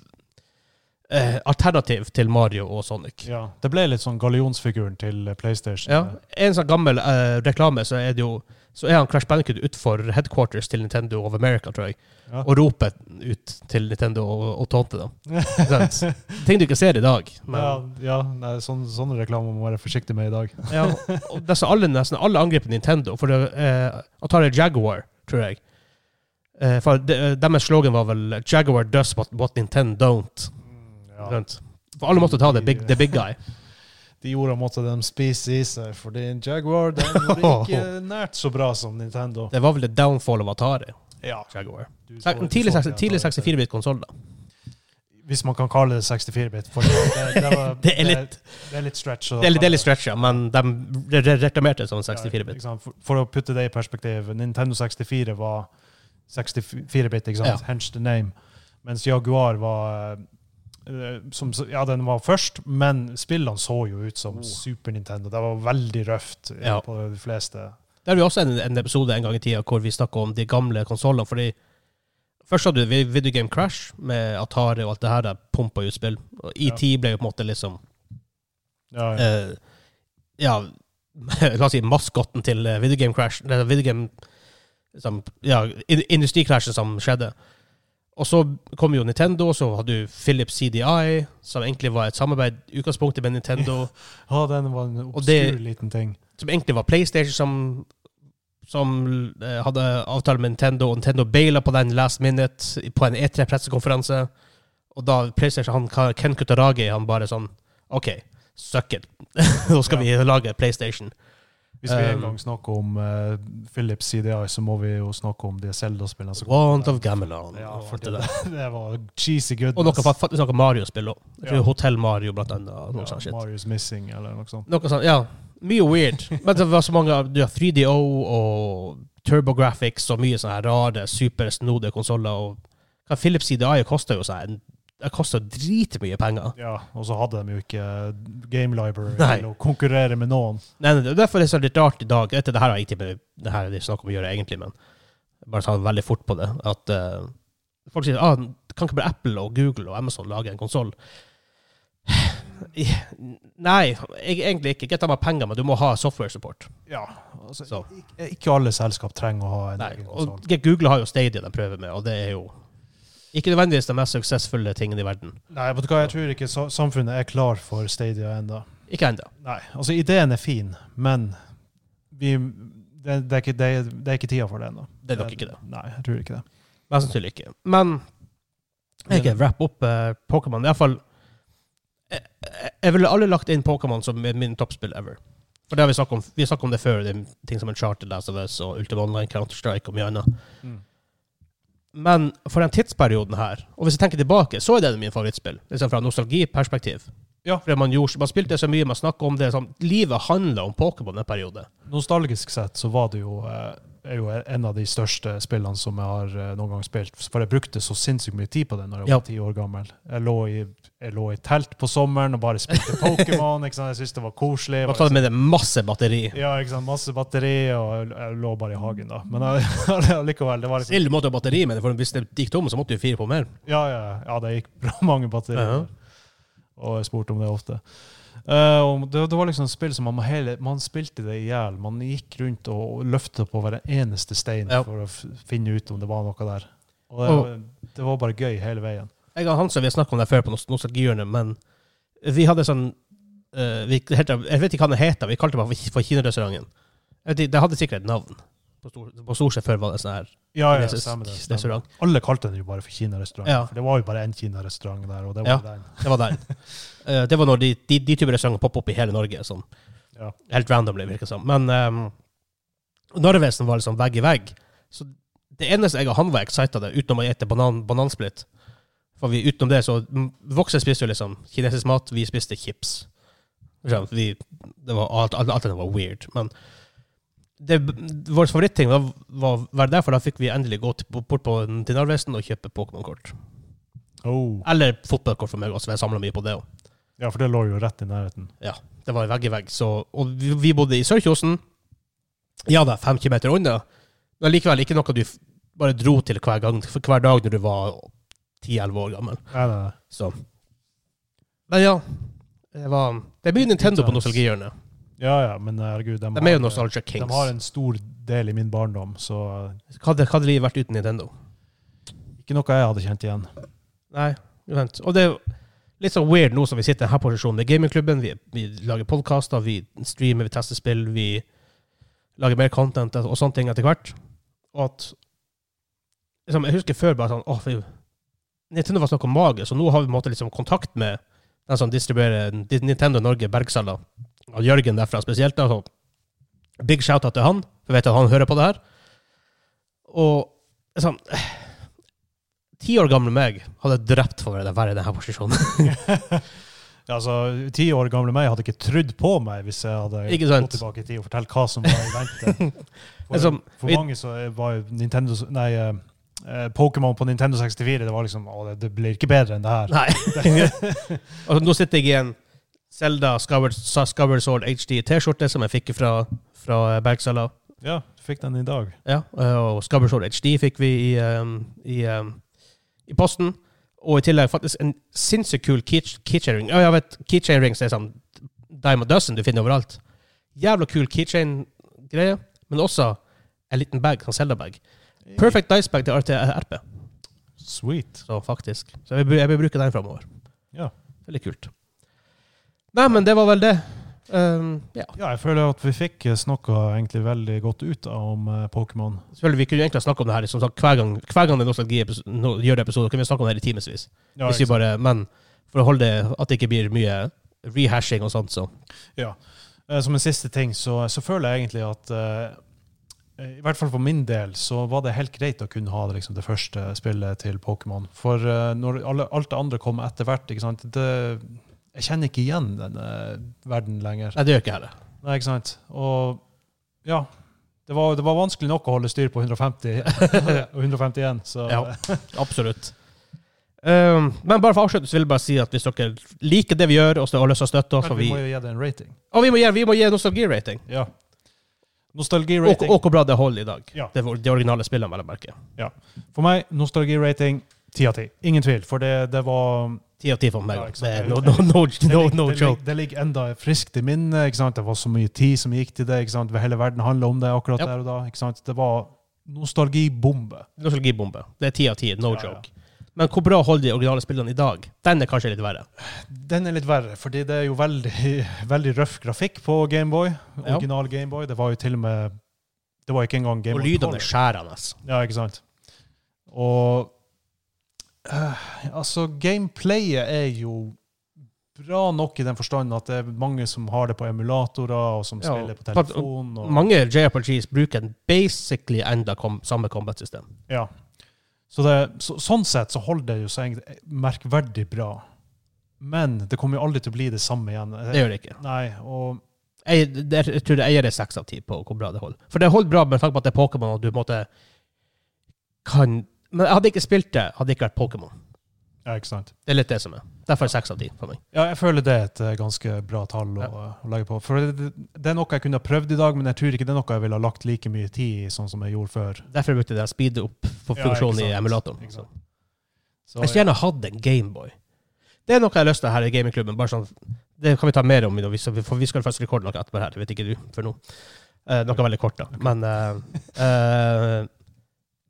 Speaker 1: eh, alternativ til Mario og Sonic.
Speaker 2: Ja, det ble litt sånn gallionsfiguren til PlayStation.
Speaker 1: Ja. En sånn gammel eh, reklame, så er det jo så er han Crash Bandicoot utfor headquarters til Nintendo of America, tror jeg,
Speaker 2: Ja.
Speaker 1: og roper ut til Nintendo og, og tånte dem. Ikke sant?
Speaker 2: (laughs)
Speaker 1: Ting du ikke ser i dag. Men,
Speaker 2: ja, ja nei, sånn, sånne reklamer må man være forsiktig med i dag.
Speaker 1: ja. og nesten alle, nesten alle angriper Nintendo, for det, eh, Atari Jaguar, tror jeg. Eh, for de, deres slogan var vel 'Jaguar does what, what Nintendo don't'. Ikke
Speaker 2: Ja.
Speaker 1: sant? For alle måtte ta the big, the big guy.
Speaker 2: De ordene måtte de spise i seg, fordi en eh, Jaguar
Speaker 1: (laughs)
Speaker 2: den var ikke nært så bra som Nintendo.
Speaker 1: Det var vel the downfall of Atari.
Speaker 2: Ja,
Speaker 1: Jaguar.
Speaker 2: du
Speaker 1: Se-
Speaker 2: så- du
Speaker 1: Tidlig,
Speaker 2: så
Speaker 1: seks-
Speaker 2: ikke
Speaker 1: tidlig
Speaker 2: Atari.
Speaker 1: 64-bit-konsoll, da.
Speaker 2: Hvis man kan kalle det 64-bit. for Det, det, var-
Speaker 1: (laughs) Det er litt-
Speaker 2: det, det er litt stretch. å
Speaker 1: Det er litt- det er litt
Speaker 2: kalle
Speaker 1: stretcha, men de re- re- reklamerte som
Speaker 2: Ja, ikke
Speaker 1: 64-bit.
Speaker 2: sant? for, for å putte det i perspektiv, Nintendo 64 var 64-bit, ikke sant?
Speaker 1: Ja.
Speaker 2: Hence the name. Mens Jaguar var eh, som, Ja, den var først, men spillene så jo ut som
Speaker 1: Oh.
Speaker 2: Super Nintendo. Det var veldig røft eh,
Speaker 1: Ja.
Speaker 2: på de fleste.
Speaker 1: Det har vi også en, en episode en gang i tida hvor vi snakka om de gamle konsollene, fordi Først hadde du Video Game Crash med Atari og alt det her der pumpa ut spill. Og ET ble jo på en måte liksom
Speaker 2: Ja, ja.
Speaker 1: eh, Ja, (laughs) la oss si maskotten til eh, Video Game Crash eller Video Game liksom, Ja, in- industrikrasjen som skjedde. Og så kom jo Nintendo, så hadde du Philips CDI, som egentlig var et samarbeid i utgangspunktet med Nintendo.
Speaker 2: ja, den var en
Speaker 1: Og
Speaker 2: obskur
Speaker 1: det-
Speaker 2: liten ting.
Speaker 1: som egentlig var PlayStation som, som eh, hadde avtale med Nintendo, og Nintendo baila på den last minute på en E3-pressekonferanse. Og da PlayStation, han, Ken Kutaragi, han bare sånn OK, suck it. (laughs) Nå skal vi lage PlayStation.
Speaker 2: Hvis vi
Speaker 1: Um,
Speaker 2: en gang snakker om eh, Philips CDI, så må vi jo snakke om de Zelda-spillene. som kom.
Speaker 1: Want of Gamelon.
Speaker 2: Ja,
Speaker 1: og alt
Speaker 2: det,
Speaker 1: det der.
Speaker 2: det var (laughs) cheesy goodness.
Speaker 1: Og noe, fa- faktisk noe Mario-spill òg.
Speaker 2: Ja.
Speaker 1: Hotell Mario, blant annet. Noe sånt
Speaker 2: ja,
Speaker 1: shit.
Speaker 2: Marius Missing, eller noe sånt.
Speaker 1: Noe sånt, ja. Mye weird. Men det var så mange Du har 3DO og TurboGrafx og mye sånne her rare, supersnodige konsoller. Og hva Philips CDI koster jo sånn Det koster dritmye penger.
Speaker 2: Ja, og så hadde de jo ikke Game Library
Speaker 1: Nei.
Speaker 2: til å konkurrere med noen.
Speaker 1: Nei, nei, det er derfor det er så litt rart i dag. Dette, det her har jeg ikke med, det her er det snakk om å gjøre, egentlig, men bare ta veldig fort på det. At eh, folk sier ah, kan ikke bare Apple og Google og Amazon lage en konsoll? (sighs) Nei, jeg, egentlig ikke. Ikke ta meg penger, men du må ha software support.
Speaker 2: Ja, altså,
Speaker 1: Så.
Speaker 2: ikke, ikke alle selskap trenger å ha en
Speaker 1: Nei,
Speaker 2: egen
Speaker 1: og
Speaker 2: konsoll.
Speaker 1: Google har jo Stadia de prøver med, og det er jo ikke nødvendigvis den mest suksessfulle tingen i verden.
Speaker 2: Nei, vet du hva, jeg tror ikke sa- samfunnet er klar for Stadia ennå.
Speaker 1: Ikke ennå.
Speaker 2: Nei, altså ideen er fin, men vi, det, det, er ikke, det, er- det er ikke tida for det ennå.
Speaker 1: Det er nok ikke det.
Speaker 2: Nei, jeg tror ikke det.
Speaker 1: Mest sannsynlig ikke. Men jeg kan wrap opp uh, Pokémon. Iallfall jeg, jeg eh, jeg ville aldri lagt inn Pokémon som min- min toppspill ever. For det har vi snakket om, vi har snakket om det før, det er ting som en charter, Last of Us og Ultima Online, Counter-Strike og mye annet. Men for den tidsperioden her, og hvis jeg tenker tilbake, så er det min favorittspill. Liksom fra nostalgiperspektiv.
Speaker 2: Ja.
Speaker 1: Fordi man, gjorde, man spilte så mye, man snakket om det. Sånn, livet handla om Pokémon en periode.
Speaker 2: Nostalgisk sett så var det jo, eh, er jo en av de største spillene som jeg har eh, noen gang spilt. For jeg brukte så sinnssykt mye tid på det når jeg
Speaker 1: Ja.
Speaker 2: var ti år gammel. Jeg lå, i, jeg lå i telt på sommeren og bare spilte Pokémon. (laughs) ikke sant? jeg syntes det var koselig.
Speaker 1: Man tatt med det masse batteri.
Speaker 2: ja, ikke sant? Masse batteri, og jeg- jeg lå bare i hagen da. Men jeg- (laughs) allikevel, det var liksom
Speaker 1: Snill måte å ha batteri med, for hvis det gikk tom, så måtte du fire på mer.
Speaker 2: Ja, ja, ja, det gikk (laughs) bra mange batterier.
Speaker 1: Ja.
Speaker 2: Og jeg spurte om det ofte. Eh, og det, det var liksom spill som man, hele, man spilte det i hjel. Man gikk rundt og løfta på hver eneste stein
Speaker 1: Ja.
Speaker 2: for å f finne ut om det var noe der. Og det, det var bare gøy hele veien.
Speaker 1: Jeg og Hansa vi har snakket om det før på nost- nostalgihjørnet, men vi hadde sånn eh, vi, heter, Jeg vet ikke hva den heter, vi kalte den bare for Kinarestauranten. Jeg vet ikke, Det hadde sikkert et navn. På stor- På Storsjø før var det sånn her
Speaker 2: Ja, ja,
Speaker 1: kinesisk
Speaker 2: stemmer det, stemmer.
Speaker 1: restaurant.
Speaker 2: Alle kalte den jo bare for Kinarestaurant.
Speaker 1: Ja.
Speaker 2: For det var jo bare én Kinarestaurant der, og det
Speaker 1: Ja.
Speaker 2: var den.
Speaker 1: Det var den. Eh, det var når de, de, de typer restauranter poppet opp i hele Norge. Sånn.
Speaker 2: Ja.
Speaker 1: Helt randomly, virker det som. Men um, Narvesen var liksom vegg i vegg. Så det eneste jeg og han var excited av, utenom å ete banan, banansplitt For vi, utenom det, så mm, Voksne spiste jo liksom kinesisk mat, vi spiste chips. Ikke sant? Vi, det var alt, alt, alt det var weird. Men det, vår favoritting var, var, var derfor da fikk vi endelig gå til, bort på, til Narvesen og kjøpe Pokémon-kort.
Speaker 2: Oh.
Speaker 1: Eller fotballkort for meg også, for jeg samla mye på det òg.
Speaker 2: Ja, for det lå jo rett i nærheten.
Speaker 1: Det var vegg i vegg. Så, og vi, vi bodde i Sørkjosen. Ja, det er fem kilometer unna, men likevel ikke noe du f- bare dro til hver, gang, for hver dag når du var 10-11 år gammel.
Speaker 2: Nei, nei, nei.
Speaker 1: Så. Men ja, det, var, det blir Nintendo på
Speaker 2: Intense.
Speaker 1: nostalgihjørnet.
Speaker 2: Ja, ja, men eh, herregud, de,
Speaker 1: De er
Speaker 2: har-
Speaker 1: jo Nostalgia
Speaker 2: de
Speaker 1: Kings.
Speaker 2: har en stor del i min barndom, så eh,
Speaker 1: Hva hadde, hva hadde livet vært uten Nintendo?
Speaker 2: ikke noe jeg hadde kjent igjen.
Speaker 1: Nei, vent. Og det er litt sånn weird nå som vi sitter i denne posisjonen med gamingklubben. Vi, vi lager podkaster, vi streamer, vi tester spill, vi lager mer content og sånne ting etter hvert. Og at liksom, Jeg husker før bare sånn åh, fy, Nintendo var snakk om mage, så nå har vi på en måte liksom kontakt med den som distribuerer Nintendo Norge Bergsala. Og Jørgen derfra spesielt. da, så Big shout-out til han, for jeg vet at han hører på det her. Og liksom Ti år gamle meg hadde drept for å være i denne posisjonen. (laughs)
Speaker 2: Altså, Ti år gamle meg hadde ikke trodd på meg hvis jeg hadde
Speaker 1: Ikke sant?
Speaker 2: gått tilbake i tid og fortalt hva som var i
Speaker 1: (laughs)
Speaker 2: vente. For,
Speaker 1: Altså,
Speaker 2: for
Speaker 1: vi-
Speaker 2: mange så var jo Nintendo Nei, eh, eh, Pokémon på Nintendo 64 det var liksom Å, det, det blir ikke bedre enn det her.
Speaker 1: Nei. altså, nå sitter jeg i en Zelda Skyward, Skyward Sword HD T-skjorte som jeg fikk fra, fra Bergsala.
Speaker 2: Ja, du fikk den i dag.
Speaker 1: Ja, eh, og Scarborough Shore HD fikk vi i, ehm, i, ehm, i posten. Og i tillegg faktisk en sinnssykt kul key- keychain ring. Ja, jeg vet, keychain rings er sånn dime a dozen du finner overalt. Jævla kul keychain-greie, men også en liten bag, sånn Zelda-bag. Perfect dice bag til RTRP,
Speaker 2: Sweet.
Speaker 1: så faktisk. Så jeg vil, jeg vil bruke den framover.
Speaker 2: Ja.
Speaker 1: Veldig kult. Nei, men det var vel det. Ehm, ja.
Speaker 2: Ja, jeg føler at vi fikk snakka egentlig veldig godt ut om eh, Pokémon.
Speaker 1: Selvfølgelig, vi kunne jo egentlig ha snakket om det her som sagt, hver gang, hver gang det er nostalgi-episo- no- gjør episoder, kunne vi snakke om det her i timevis.
Speaker 2: Ja,
Speaker 1: Hvis vi
Speaker 2: ikke sant?
Speaker 1: bare, men for å holde det, at det ikke blir mye rehashing og sånt, så.
Speaker 2: Ja. Eh, Som en siste ting, så, så føler jeg egentlig at eh, I hvert fall for min del så var det helt greit å kunne ha det, liksom, det første spillet til Pokémon. For eh, når alle, alt det andre kom etter hvert, ikke sant det, Jeg kjenner ikke igjen denne verden lenger.
Speaker 1: Nei, det gjør ikke jeg heller.
Speaker 2: Nei, ikke sant? Og ja. Det var, det var vanskelig nok å holde styr på 150 (laughs) og 151, så
Speaker 1: Ja. Absolutt. Um, men bare for å avslutte så vil jeg bare si at hvis dere liker det vi gjør, og så har lyst til å støtte oss,
Speaker 2: Men
Speaker 1: og
Speaker 2: vi
Speaker 1: vi,
Speaker 2: må jo gi det en rating.
Speaker 1: og vi må gi, vi må gi nostalgi-rating,
Speaker 2: Ja.
Speaker 1: og,
Speaker 2: Nostalgi-rating.
Speaker 1: og hvor bra det holder i dag.
Speaker 2: Ja.
Speaker 1: Det, er de originale spillene, vel å merke.
Speaker 2: For meg, nostalgi-rating ti av ti. Ingen tvil, for det, det var
Speaker 1: 10 av 10 for meg.
Speaker 2: Ja, ikke
Speaker 1: det
Speaker 2: sant.
Speaker 1: er no, no, (laughs) no,
Speaker 2: det
Speaker 1: no,
Speaker 2: ligger-
Speaker 1: no
Speaker 2: det,
Speaker 1: joke.
Speaker 2: ligger- det ligger enda friskt i minnet. ikke sant? Det var så mye tid som gikk til det. ikke sant? Hele verden handla om det akkurat
Speaker 1: Yep.
Speaker 2: der og da. ikke sant? Det var nostalgibombe.
Speaker 1: Nostalgibombe. Det er 10 av 10, no
Speaker 2: Ja, ja.
Speaker 1: joke. Men hvor bra holder de originale spillene i dag? Den er kanskje litt verre.
Speaker 2: Den er litt verre, fordi det er jo veldig, (laughs) veldig røff grafikk på Gameboy.
Speaker 1: Ja.
Speaker 2: Original Gameboy. Det var jo til og med Det var ikke engang
Speaker 1: Og
Speaker 2: Gameboy.
Speaker 1: lydene
Speaker 2: Color.
Speaker 1: er skjærende. altså.
Speaker 2: Ja, ikke sant? Og eh, Altså, gameplayet er jo bra nok i den forstand at det er mange som har det på emulatorer, og som
Speaker 1: Ja,
Speaker 2: spiller
Speaker 1: og-
Speaker 2: på telefon. Og,
Speaker 1: Mange JRPGs bruker en basically enda kom, samme combat-system.
Speaker 2: ja. så det, så, sånn sett så holder det jo seg egentlig merkverdig bra. Men det kommer jo aldri til å bli det samme igjen.
Speaker 1: Det gjør det ikke.
Speaker 2: Nei, og
Speaker 1: Jeg, det- jeg tror det eier er seks av ti på hvor bra det holder. For det holder bra med tanke på at det er Pokémon, og du på en måte kan Men jeg hadde ikke spilt det, hadde det ikke vært Pokémon.
Speaker 2: Ja, ikke sant.
Speaker 1: Det er litt det som er. Derfor er seks av ti for meg.
Speaker 2: Ja, jeg føler det er et eh, ganske bra tall å, å legge på. For det, det er noe jeg kunne ha prøvd i dag, men jeg tror ikke det er noe jeg ville ha lagt like mye tid i, sånn som jeg gjorde før.
Speaker 1: Derfor brukte jeg den speed up-funksjonen
Speaker 2: Ja,
Speaker 1: i
Speaker 2: ikke sant.
Speaker 1: emulatoren.
Speaker 2: Ikke
Speaker 1: Så.
Speaker 2: sant. Så,
Speaker 1: Jeg skulle gjerne hatt en Gameboy. Det er noe jeg har lyst til her i gamingklubben. Bare sånn, det kan vi ta mer om, når vi- for vi skal faktisk rekorde noe etterpå her. Det vet ikke du for nå. Eh, noe veldig kort, da. Men eh, eh,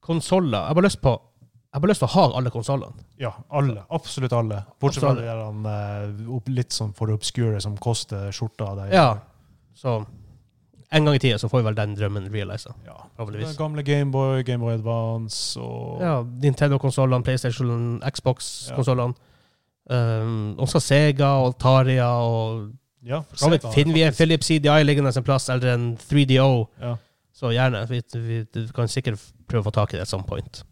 Speaker 1: konsoller Jeg har bare lyst på Jeg har bare lyst til å ha alle konsollene.
Speaker 2: ja, alle. Absolutt alle. Bortsett fra
Speaker 1: Absolutt.
Speaker 2: de der han, eh, opp- litt sånn for obscure som koster skjorta av deg.
Speaker 1: Ja. Så en gang i tida så får vi vel den drømmen realisa,
Speaker 2: Ja. Det
Speaker 1: forhåpentligvis.
Speaker 2: er Gamle Gameboy, Gameboy Advance og
Speaker 1: Ja, Nintendo-konsollene, PlayStation, Xbox-konsollene. Um, også Sega og Taria og
Speaker 2: Ja,
Speaker 1: Så vet,
Speaker 2: Sega,
Speaker 1: finner vi en
Speaker 2: faktisk.
Speaker 1: Philips CDI liggende en plass, eller en 3DO,
Speaker 2: Ja.
Speaker 1: så gjerne. Vi, vi, du kan sikkert prøve å få tak i det at some point.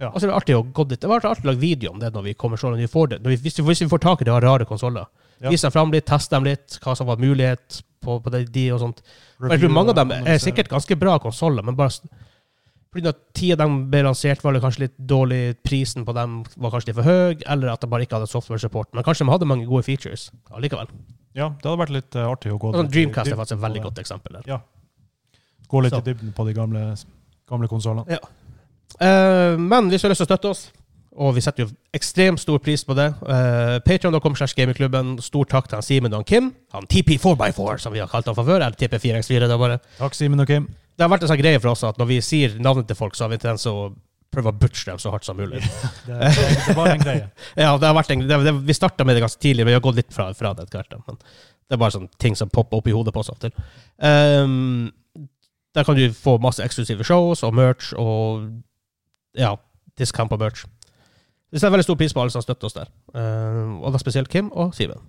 Speaker 2: Ja.
Speaker 1: Og så er det artig å gå dit. Det var artig å lage video om det når vi kommer så langt. Vi får det. Når vi, hvis, vi, hvis vi får tak i de rare konsoller.
Speaker 2: Ja.
Speaker 1: Vis dem fram litt, test dem litt, hva som var mulighet på, på de, de og sånt. Og jeg
Speaker 2: Review
Speaker 1: tror mange av dem
Speaker 2: og
Speaker 1: er
Speaker 2: analyse.
Speaker 1: sikkert ganske bra konsoller, men bare s- på grunn av at ti av dem ble lansert, var det kanskje litt dårlig. Prisen på dem var kanskje litt for høy, eller at de bare ikke hadde software support. Men kanskje de hadde mange gode features allikevel.
Speaker 2: Ja, det hadde vært litt eh, artig å gå
Speaker 1: Og sånn
Speaker 2: litt i
Speaker 1: Dreamcast er
Speaker 2: dybden
Speaker 1: faktisk et
Speaker 2: på
Speaker 1: veldig
Speaker 2: det.
Speaker 1: godt eksempel. der.
Speaker 2: Gå litt
Speaker 1: Så.
Speaker 2: i dybden på de gamle, gamle
Speaker 1: (laughs)
Speaker 2: konsollene.
Speaker 1: Eh, men hvis du har lyst til å støtte oss, og vi setter jo ekstremt stor pris på det uh, Patreon.com slash gamingklubben. Stor takk til han Simen og han Kim. Han TP4x4, som vi har kalt han fra før. Eller TP4x4. Det, er bare.
Speaker 2: Takk, Simen og Kim.
Speaker 1: det har vært en sånn greie for oss at når vi sier navnet til folk, så har vi en tendens å prøve å butche dem så hardt som mulig.
Speaker 2: (laughs) Det, det var en greie.
Speaker 1: Ja, det har vært en, det, det, Vi starta med det ganske tidlig, men vi har gått litt fra, fra det etter hvert. da. Men det er bare sånne ting som popper opp i hodet på oss av og til. Ehm, der kan du få masse eksklusive shows og merch og ja, discount på merch. Vi setter veldig stor pris på alle som støtter oss der, Ehm, og da spesielt Kim og Simen.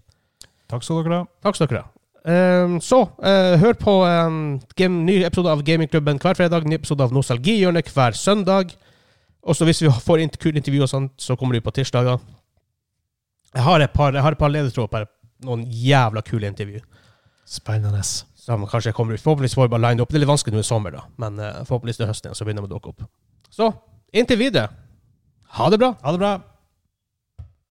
Speaker 2: Takk skal dere ha.
Speaker 1: Takk skal dere ha. Ehm, så, eh, hør på um, game, ny episode av Gamingklubben hver fredag, ny episode av Nostalgihjørnet hver søndag. Og så hvis vi får int kule intervju og sånt, så kommer de på tirsdager. Jeg har et par, jeg har et par ledetråder på noen jævla kule intervju.
Speaker 2: Spennende.
Speaker 1: Som kanskje kommer ut. Forhåpentligvis får vi bare line opp. Det er litt vanskelig nå i sommer, da. Men eh, forhåpentligvis til høsten igjen, så begynner de å dukke opp. Så, inntil videre, ha det bra.
Speaker 2: Ha det bra.